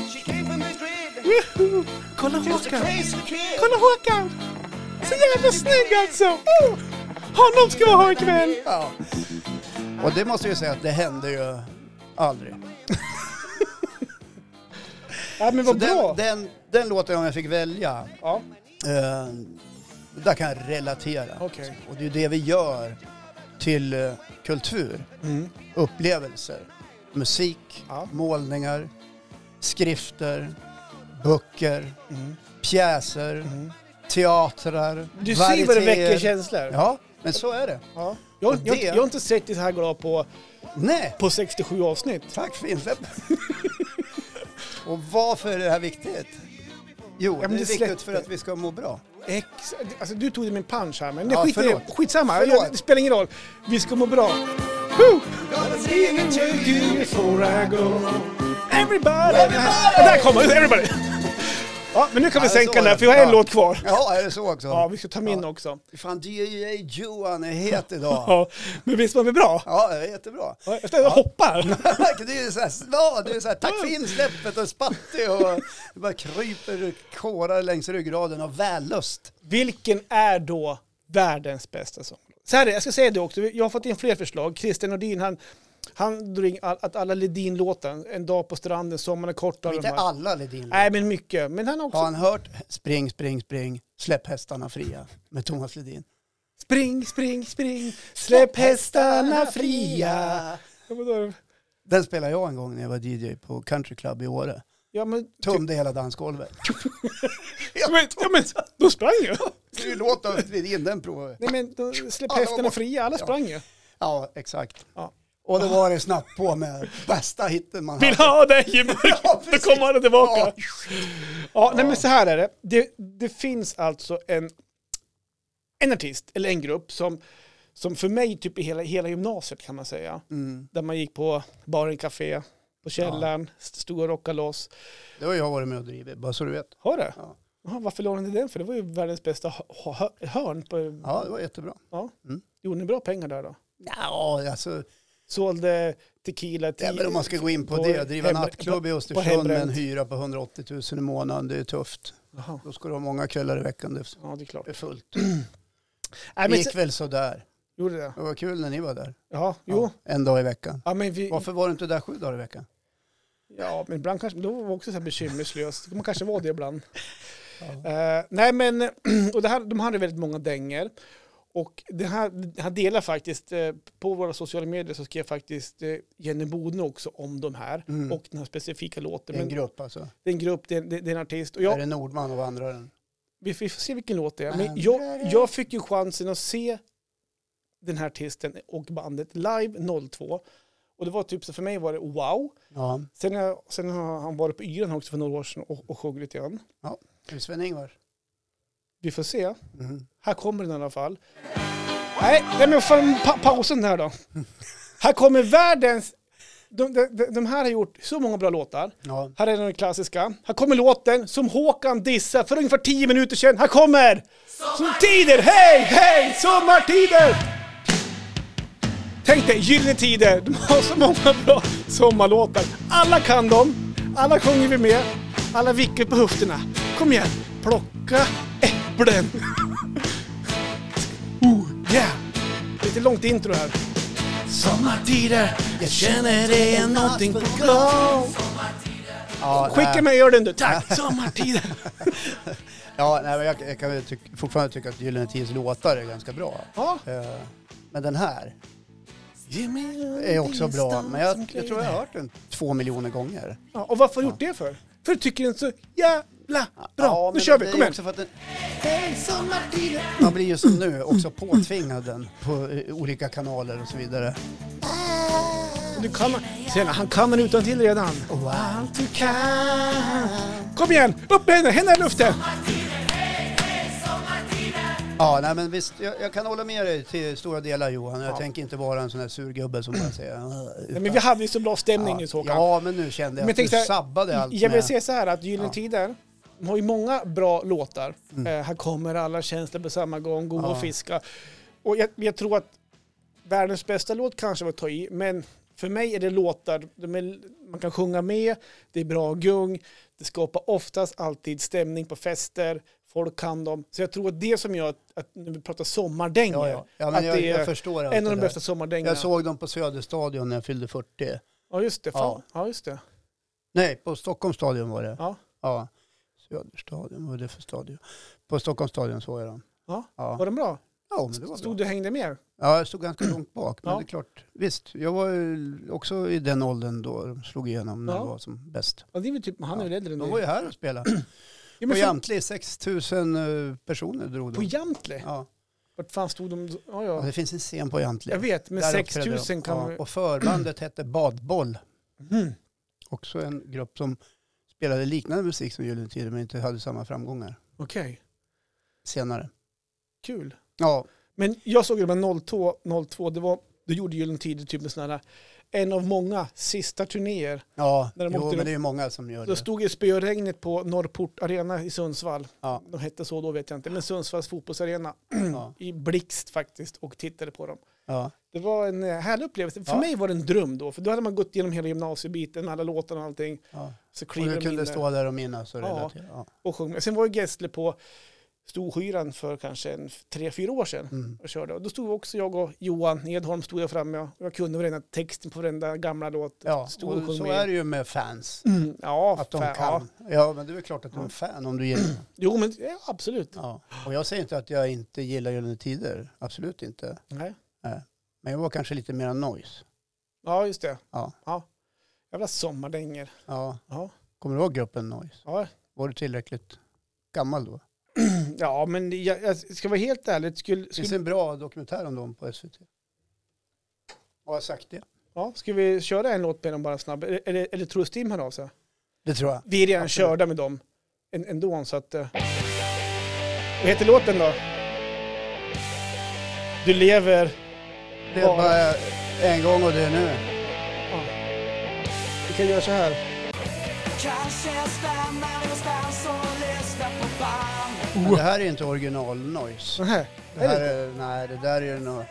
[SPEAKER 2] Kolla Håkan! Kolla Håkan! Så jävla snygg alltså! Oh! Honom ska vi ha ikväll!
[SPEAKER 1] ja. Och det måste jag ju säga att det hände ju aldrig.
[SPEAKER 2] Ja men
[SPEAKER 1] Så
[SPEAKER 2] vad bra!
[SPEAKER 1] den, den, den låten om jag fick välja,
[SPEAKER 2] Ja,
[SPEAKER 1] Eh, där kan jag relatera.
[SPEAKER 2] okej.
[SPEAKER 1] Och det är ju det vi gör till eh, kultur, upplevelser, musik,
[SPEAKER 2] Ja.
[SPEAKER 1] målningar, skrifter, böcker, pjäser, teatrar,
[SPEAKER 2] Mm. Du ser vad det
[SPEAKER 1] varietéer.
[SPEAKER 2] väcker känslor.
[SPEAKER 1] Ja, men så är det.
[SPEAKER 2] Ja. Jag, jag,
[SPEAKER 1] Det-
[SPEAKER 2] jag har inte sett dig så här glad på,
[SPEAKER 1] Nej,
[SPEAKER 2] på 67 avsnitt.
[SPEAKER 1] tack för
[SPEAKER 2] *laughs*
[SPEAKER 1] insläppet. Och varför är det här viktigt? Jo,
[SPEAKER 2] men
[SPEAKER 1] det är
[SPEAKER 2] det
[SPEAKER 1] viktigt
[SPEAKER 2] släpper.
[SPEAKER 1] för att vi ska må bra.
[SPEAKER 2] Ex alltså, du tog det min punch här, men det
[SPEAKER 1] Ja,
[SPEAKER 2] skit,
[SPEAKER 1] förlåt.
[SPEAKER 2] skitsamma.
[SPEAKER 1] Förlåt.
[SPEAKER 2] Jag, det spelar ingen roll. Vi ska må bra. Woo! Everybody! Everybody. Där kommer everybody! Ja, men nu kan vi
[SPEAKER 1] Ja, det är
[SPEAKER 2] sänka
[SPEAKER 1] så
[SPEAKER 2] den här
[SPEAKER 1] det.
[SPEAKER 2] för jag har en
[SPEAKER 1] Ja.
[SPEAKER 2] låt kvar.
[SPEAKER 1] Ja, är det så också?
[SPEAKER 2] Ja, vi ska ta min
[SPEAKER 1] Ja.
[SPEAKER 2] också.
[SPEAKER 1] Fan, DJ Johan är
[SPEAKER 2] *laughs*
[SPEAKER 1] het idag.
[SPEAKER 2] Ja, men visst var vi bra?
[SPEAKER 1] Ja, det är jättebra. *laughs*
[SPEAKER 2] Ja, Jag ja. hoppar. *laughs*
[SPEAKER 1] Du är så här snad, du är så här, tack för insläppet och spattig och du bara kryper och kårar längs ryggraden av vällust.
[SPEAKER 2] Vilken är då världens bästa sånglåt? Så här är det, jag ska säga det också, jag har fått in fler förslag. Christer Nordin, han, han drog in all, att alla Ledin-låten, En dag på stranden, Sommaren är kort. och
[SPEAKER 1] Inte
[SPEAKER 2] de här.
[SPEAKER 1] alla Ledin.
[SPEAKER 2] Nej, men mycket. Men han har också...
[SPEAKER 1] Har han hört Spring, spring, spring, släpp hästarna fria med Thomas Ledin?
[SPEAKER 2] Spring, spring, spring, släpp hästarna fria. Ja, men då-
[SPEAKER 1] Den spelade jag en gång när jag var DJ på Country Club i Åre.
[SPEAKER 2] Ja, men...
[SPEAKER 1] Tömde hela dansgolvet.
[SPEAKER 2] *laughs* Ja, men, ja, men då sprang ju.
[SPEAKER 1] Du låter Ledin, den provade
[SPEAKER 2] Nej, men då släpp
[SPEAKER 1] Ja, det var
[SPEAKER 2] hästarna
[SPEAKER 1] bort.
[SPEAKER 2] fria, alla
[SPEAKER 1] Ja.
[SPEAKER 2] sprang ju.
[SPEAKER 1] Ja, exakt.
[SPEAKER 2] Ja.
[SPEAKER 1] Och då var det snabbt på med bästa hitten man
[SPEAKER 2] Vill
[SPEAKER 1] hade.
[SPEAKER 2] ha dig i mörkret,
[SPEAKER 1] Ja,
[SPEAKER 2] då
[SPEAKER 1] precis.
[SPEAKER 2] kommer han tillbaka. Ja, nej
[SPEAKER 1] Ja.
[SPEAKER 2] men så här är det. Det, det finns alltså en, en artist, eller en grupp, som, som för mig typ i hela, hela gymnasiet kan man säga.
[SPEAKER 1] Mm.
[SPEAKER 2] Där man gick på baren, café, på källaren, stod och rockade loss.
[SPEAKER 1] Det har jag varit med och drivit, bara så du vet.
[SPEAKER 2] Har det?
[SPEAKER 1] Ja.
[SPEAKER 2] Jaha, varför lånade ni den för? Det var ju världens bästa hö- hö- hörn. På,
[SPEAKER 1] Ja, det var jättebra. Mm.
[SPEAKER 2] Gjorde ni bra pengar där då?
[SPEAKER 1] Ja, alltså,
[SPEAKER 2] Sålde tequila till...
[SPEAKER 1] ja, men om man ska gå in på
[SPEAKER 2] på
[SPEAKER 1] det, driva
[SPEAKER 2] hembre-
[SPEAKER 1] nattklubb i
[SPEAKER 2] på- på
[SPEAKER 1] Östersund med
[SPEAKER 2] hembränt.
[SPEAKER 1] en hyra på 180 000 i månaden, det är tufft.
[SPEAKER 2] Jaha.
[SPEAKER 1] Då ska du ha många kvällar i veckan, det
[SPEAKER 2] Ja, det är klart.
[SPEAKER 1] är fullt.
[SPEAKER 2] Nej,
[SPEAKER 1] Det
[SPEAKER 2] men,
[SPEAKER 1] gick väl sådär.
[SPEAKER 2] gjorde det?
[SPEAKER 1] Det var kul när ni var där.
[SPEAKER 2] Ja, jo.
[SPEAKER 1] Ja, en dag i veckan.
[SPEAKER 2] Ja, men vi,
[SPEAKER 1] Varför var du inte där sju dagar i veckan?
[SPEAKER 2] Ja, men ibland kanske, då var jag också så här bekymmerslös. Man kanske var
[SPEAKER 1] *laughs*
[SPEAKER 2] det ibland.
[SPEAKER 1] Ja.
[SPEAKER 2] Eh, nej, men *clears throat* och det här, de hade väldigt många dänger. Och det här, han delar faktiskt, eh, på våra sociala medier så skrev faktiskt eh, Jenny Bodne också om de här.
[SPEAKER 1] Mm.
[SPEAKER 2] Och den här specifika
[SPEAKER 1] Det
[SPEAKER 2] låten.
[SPEAKER 1] är en
[SPEAKER 2] Men
[SPEAKER 1] grupp alltså.
[SPEAKER 2] det är en grupp, det är en, det det är en artist. Och
[SPEAKER 1] Är
[SPEAKER 2] jag,
[SPEAKER 1] det Nordman och vandraren?
[SPEAKER 2] vi, vi får se vilken låt det är. Men
[SPEAKER 1] Men
[SPEAKER 2] jag,
[SPEAKER 1] är det-
[SPEAKER 2] jag fick ju chansen att se den här artisten och bandet live 02. Och det var typ, så för mig var det wow.
[SPEAKER 1] Ja.
[SPEAKER 2] Sen, har- sen har han varit på Yran också för några år sedan och, och sjöng lite grann.
[SPEAKER 1] Är det Sven-Ingvars?
[SPEAKER 2] Vi får se.
[SPEAKER 1] Mm.
[SPEAKER 2] Här kommer den i alla fall. Nej, nej men fan pa pausen här då. Här kommer världens... De, de, de, de här har gjort så många bra låtar.
[SPEAKER 1] Ja.
[SPEAKER 2] Här är den klassiska. Här kommer låten som Håkan dissade för ungefär 10 minuter sedan. Här kommer! Sommartider! Hej, hej! Sommartider! Tänk dig, Gyllene Tider. De har så många bra sommarlåtar. Alla kan dem. Alla sjunger vi med. Alla vickar på höfterna. Kom igen, plocka äpplen. oh, yeah! Lite långt intro här. Sommartider, jag känner det är någonting på gång.
[SPEAKER 1] Ja,
[SPEAKER 2] Skicka
[SPEAKER 1] nej.
[SPEAKER 2] mig ölen du, *laughs* tack! Sommartiden!
[SPEAKER 1] Ja, nej, men jag, jag kan väl tyck- fortfarande tycka att Gyllene Tids låtar är ganska bra.
[SPEAKER 2] ja.
[SPEAKER 1] Eh, Men den här är också bra. Men jag, jag tror jag har hört den två miljoner gånger.
[SPEAKER 2] Ja, och varför har du gjort det för? För du tycker den är så jävla bra.
[SPEAKER 1] Ja,
[SPEAKER 2] nu
[SPEAKER 1] men
[SPEAKER 2] kör
[SPEAKER 1] det
[SPEAKER 2] vi,
[SPEAKER 1] är
[SPEAKER 2] kom igen!
[SPEAKER 1] också för att den- Man blir just nu också påtvingad den på eh, olika kanaler och så vidare.
[SPEAKER 2] Du kan, tjena, han kan den utan till redan.
[SPEAKER 1] Wow.
[SPEAKER 2] Allt du kan. Kom igen, upp med henne, händerna i luften!
[SPEAKER 1] Ja, nej, men visst, jag, jag kan hålla med dig till stora delar Johan. Jag tänker inte vara en sån här surgubbe som bara säger... "Ah,
[SPEAKER 2] Nej, men vi hade ju så bra stämning nyss
[SPEAKER 1] ja,
[SPEAKER 2] Håkan.
[SPEAKER 1] ja, men nu kände jag
[SPEAKER 2] Men
[SPEAKER 1] att du
[SPEAKER 2] tänk så här,
[SPEAKER 1] sabbade allt
[SPEAKER 2] Jag vill
[SPEAKER 1] med-
[SPEAKER 2] säga så här att Gyllene Tider de har ju många bra låtar. Eh, här kommer alla känslor på samma gång, Gå och
[SPEAKER 1] Mm. Ja.
[SPEAKER 2] fiska. Och jag, jag tror att världens bästa låt kanske var att ta i, men för mig är det låtar, de är, man kan sjunga med, det är bra gung, det skapar oftast alltid stämning på fester, folk kan dem. Så jag tror att det som gör att, att när vi pratar sommardängor,
[SPEAKER 1] Ja, ja. ja
[SPEAKER 2] att
[SPEAKER 1] men jag,
[SPEAKER 2] det är
[SPEAKER 1] jag förstår allt
[SPEAKER 2] en av
[SPEAKER 1] det
[SPEAKER 2] de
[SPEAKER 1] där.
[SPEAKER 2] bästa sommardängorna.
[SPEAKER 1] Jag såg dem på Söderstadion när jag fyllde 40.
[SPEAKER 2] Ja just det, fan. Ja. just det.
[SPEAKER 1] Nej, på Stockholms stadion var det.
[SPEAKER 2] Ja.
[SPEAKER 1] Ja. Söderstadion, vad är det för stadion? På Stockholms stadion såg jag dem.
[SPEAKER 2] Ja. Var
[SPEAKER 1] Ja,
[SPEAKER 2] den bra?
[SPEAKER 1] ja men det var
[SPEAKER 2] Stod
[SPEAKER 1] bra.
[SPEAKER 2] du och hängde med?
[SPEAKER 1] Ja, jag stod ganska långt bak. Men
[SPEAKER 2] Ja.
[SPEAKER 1] det är klart, visst, jag var ju också i den åldern då de slog igenom när
[SPEAKER 2] Ja.
[SPEAKER 1] det var som bäst.
[SPEAKER 2] Ja, det är väl typ, han är väl äldre än
[SPEAKER 1] De var
[SPEAKER 2] dig?
[SPEAKER 1] ju här och spelade.
[SPEAKER 2] *clears throat* Ja,
[SPEAKER 1] På
[SPEAKER 2] men fan,
[SPEAKER 1] Jamtli, 6000 eh, personer drog
[SPEAKER 2] på
[SPEAKER 1] de.
[SPEAKER 2] Jamtli?
[SPEAKER 1] Ja.
[SPEAKER 2] Vart fan stod de? Ja,
[SPEAKER 1] Ja,
[SPEAKER 2] ja.
[SPEAKER 1] det finns en scen på Jamtli.
[SPEAKER 2] Jag vet, men
[SPEAKER 1] Där
[SPEAKER 2] 6
[SPEAKER 1] uppträdde
[SPEAKER 2] 000
[SPEAKER 1] de.
[SPEAKER 2] kan
[SPEAKER 1] Ja,
[SPEAKER 2] vi...
[SPEAKER 1] och förbandet hette Badboll.
[SPEAKER 2] Mm.
[SPEAKER 1] Också en grupp som spelade liknande musik som Gyllene Tider men inte hade samma framgångar
[SPEAKER 2] Okej,
[SPEAKER 1] senare.
[SPEAKER 2] kul.
[SPEAKER 1] Ja,
[SPEAKER 2] Men jag såg det med 02, 02 det var, då gjorde Gyllene Tider typ en sån här en av många sista turnéer.
[SPEAKER 1] Ja,
[SPEAKER 2] När de
[SPEAKER 1] jo,
[SPEAKER 2] åkte
[SPEAKER 1] men
[SPEAKER 2] upp.
[SPEAKER 1] det är ju många som gör
[SPEAKER 2] Då
[SPEAKER 1] det.
[SPEAKER 2] stod ju spöregnet på Norrport Arena i Sundsvall.
[SPEAKER 1] Ja.
[SPEAKER 2] De hette så då vet jag inte, men Sundsvalls fotbollsarena
[SPEAKER 1] Ja,
[SPEAKER 2] i blixt faktiskt och tittade på dem.
[SPEAKER 1] ja,
[SPEAKER 2] Det var en eh, härlig upplevelse. För
[SPEAKER 1] Ja.
[SPEAKER 2] mig var det en dröm då, för då hade man gått igenom hela gymnasiebiten med alla låtarna och allting.
[SPEAKER 1] ja.
[SPEAKER 2] Så
[SPEAKER 1] Och
[SPEAKER 2] kliver
[SPEAKER 1] du
[SPEAKER 2] de in
[SPEAKER 1] kunde
[SPEAKER 2] där
[SPEAKER 1] stå där och minnas och
[SPEAKER 2] Ja.
[SPEAKER 1] relatera. Ja.
[SPEAKER 2] och sjöng. med. Sen var ju Gessle på Storskyran för kanske en, tre, fyra år sedan
[SPEAKER 1] Mm.
[SPEAKER 2] och körde. Och då stod också jag och Johan Edholm stod jag framme och jag kunde varenda texten på varenda gamla låt.
[SPEAKER 1] Ja,
[SPEAKER 2] Stod och
[SPEAKER 1] och
[SPEAKER 2] sjöng
[SPEAKER 1] så
[SPEAKER 2] med.
[SPEAKER 1] är det ju med fans.
[SPEAKER 2] Mm, ja,
[SPEAKER 1] Att de
[SPEAKER 2] fan, Ja.
[SPEAKER 1] kan. Ja, men det är väl klart att de är fan om du gillar
[SPEAKER 2] Jo, men ja, absolut.
[SPEAKER 1] ja. Och jag säger inte att jag inte gillar Gyllene Tider. Absolut inte.
[SPEAKER 2] Nej.
[SPEAKER 1] Men jag var kanske lite mer noise.
[SPEAKER 2] Ja, just det.
[SPEAKER 1] Ja.
[SPEAKER 2] Jävla sommardänger.
[SPEAKER 1] Ja.
[SPEAKER 2] Ja.
[SPEAKER 1] Kommer du ihåg gruppen Noise?
[SPEAKER 2] Ja.
[SPEAKER 1] Var du tillräckligt gammal då?
[SPEAKER 2] ja, men jag, jag ska vara helt ärlig. Skulle,
[SPEAKER 1] Det finns
[SPEAKER 2] skulle,
[SPEAKER 1] en bra dokumentär om dem på SVT. Har jag sagt det?
[SPEAKER 2] ja, ska vi köra en låt med dem bara snabbt? Eller, eller, eller tror du Stim hör av sig?
[SPEAKER 1] Det tror jag.
[SPEAKER 2] Vi är redan
[SPEAKER 1] Absolut.
[SPEAKER 2] körda med dem än- ändå. Så att, eh. Vad heter låten då? Du lever...
[SPEAKER 1] Det
[SPEAKER 2] Ja.
[SPEAKER 1] är bara en gång och det är nu.
[SPEAKER 2] Vi kan göra så här.
[SPEAKER 4] Kanske jag stannar någonstans och lyssnar på band
[SPEAKER 1] Men det här är inte original Noise.
[SPEAKER 2] Den här.
[SPEAKER 1] Det här
[SPEAKER 2] Oh. *laughs* Är det?
[SPEAKER 1] är, nej, det där är ju något,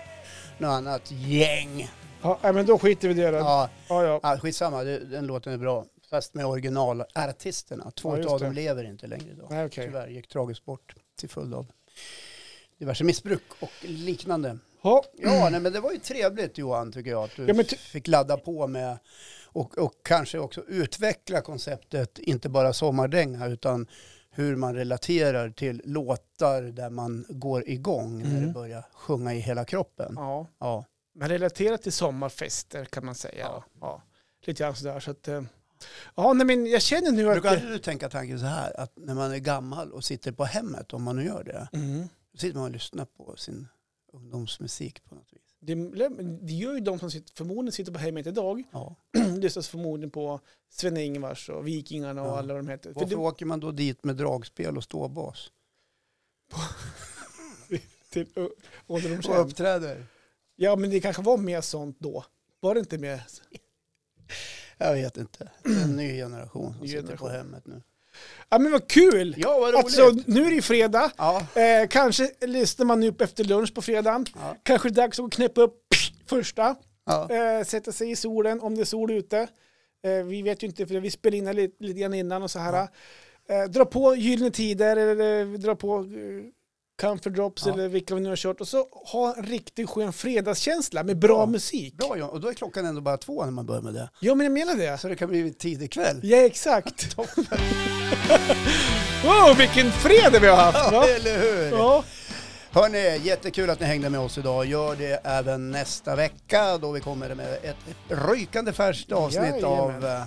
[SPEAKER 1] något annat gäng.
[SPEAKER 2] Ja, nej, men då skiter vi i det då. Ja,
[SPEAKER 1] Ja,
[SPEAKER 2] ja.
[SPEAKER 1] ja skitsamma, det, den låten är bra. Fast med originalartisterna.
[SPEAKER 2] Ja,
[SPEAKER 1] Två
[SPEAKER 2] just
[SPEAKER 1] av dem
[SPEAKER 2] det.
[SPEAKER 1] lever inte längre idag.
[SPEAKER 2] Nej, okej.
[SPEAKER 1] Tyvärr gick tragiskt bort till följd av diverse missbruk och liknande.
[SPEAKER 2] Ja.
[SPEAKER 1] Ja, nej, men det var ju trevligt Johan tycker jag att du
[SPEAKER 2] Mm. Ja, men ty-
[SPEAKER 1] fick ladda på med och, och kanske också utveckla konceptet, inte bara sommardänga utan hur man relaterar till låtar där man går igång när
[SPEAKER 2] Mm.
[SPEAKER 1] det börjar sjunga i hela kroppen.
[SPEAKER 2] ja.
[SPEAKER 1] Ja,
[SPEAKER 2] Men relaterat till sommarfester kan man säga. Ja.
[SPEAKER 1] Ja.
[SPEAKER 2] Lite grann sådär. Så att, eh. ja, nej, men jag känner nu att...
[SPEAKER 1] Brukar du tänka tanken så här att när man är gammal och sitter på hemmet, om man nu gör det,
[SPEAKER 2] Mm.
[SPEAKER 1] då sitter man och lyssnar på sin ungdomsmusik på något vis?
[SPEAKER 2] Det, det gör ju de som sitter, förmodligen sitter på hemmet idag. *clears throat*
[SPEAKER 1] Ja.
[SPEAKER 2] Lyssnas förmodligen på Sven-Ingvars och Vikingarna och
[SPEAKER 1] Ja.
[SPEAKER 2] alla de heter. För
[SPEAKER 1] Varför
[SPEAKER 2] det-
[SPEAKER 1] åker man då dit med dragspel och ståbas
[SPEAKER 2] till ö-
[SPEAKER 1] och
[SPEAKER 2] ålderdomshem.
[SPEAKER 1] uppträder?
[SPEAKER 2] Ja, men det kanske var mer sånt då. Var det inte mer?
[SPEAKER 1] Jag vet inte. Det är en ny generation som
[SPEAKER 2] Ny
[SPEAKER 1] sitter
[SPEAKER 2] generation.
[SPEAKER 1] på hemmet nu.
[SPEAKER 2] Ja, men vad kul!
[SPEAKER 1] Ja, vad roligt.
[SPEAKER 2] Alltså, nu är det ju fredag.
[SPEAKER 1] ja.
[SPEAKER 2] Eh, kanske lyssnar man upp efter lunch på fredagen.
[SPEAKER 1] Ja.
[SPEAKER 2] Kanske det är dags att knäppa upp första.
[SPEAKER 1] Ja.
[SPEAKER 2] Eh, sätta sig i solen om det är sol ute. Eh, vi vet ju inte, för vi spelar in här lite, lite grann innan och så här. Eh, dra på Gyllene Tider eller eh, dra på eh, Comfort Drops
[SPEAKER 1] Ja.
[SPEAKER 2] eller vilka vi nu har kört. Och så ha en riktigt skön fredagskänsla med bra
[SPEAKER 1] Ja.
[SPEAKER 2] musik.
[SPEAKER 1] Bra John, och då är klockan ändå bara två när man börjar med det.
[SPEAKER 2] Ja, men jag menar det.
[SPEAKER 1] Så det kan bli tidig kväll.
[SPEAKER 2] Ja, exakt. *laughs* wow, vilken fredag vi har haft! Va?
[SPEAKER 1] Ja, eller hur?
[SPEAKER 2] Ja.
[SPEAKER 1] Hörni, jättekul att ni hängde med oss idag. Gör det även nästa vecka då vi kommer med ett rykande färskt avsnitt
[SPEAKER 2] Jajamän.
[SPEAKER 1] av... eh,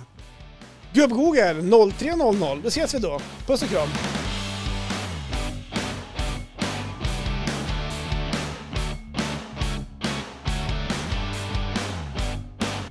[SPEAKER 2] Gubb-Google 0300, då ses vi då. Puss och kram!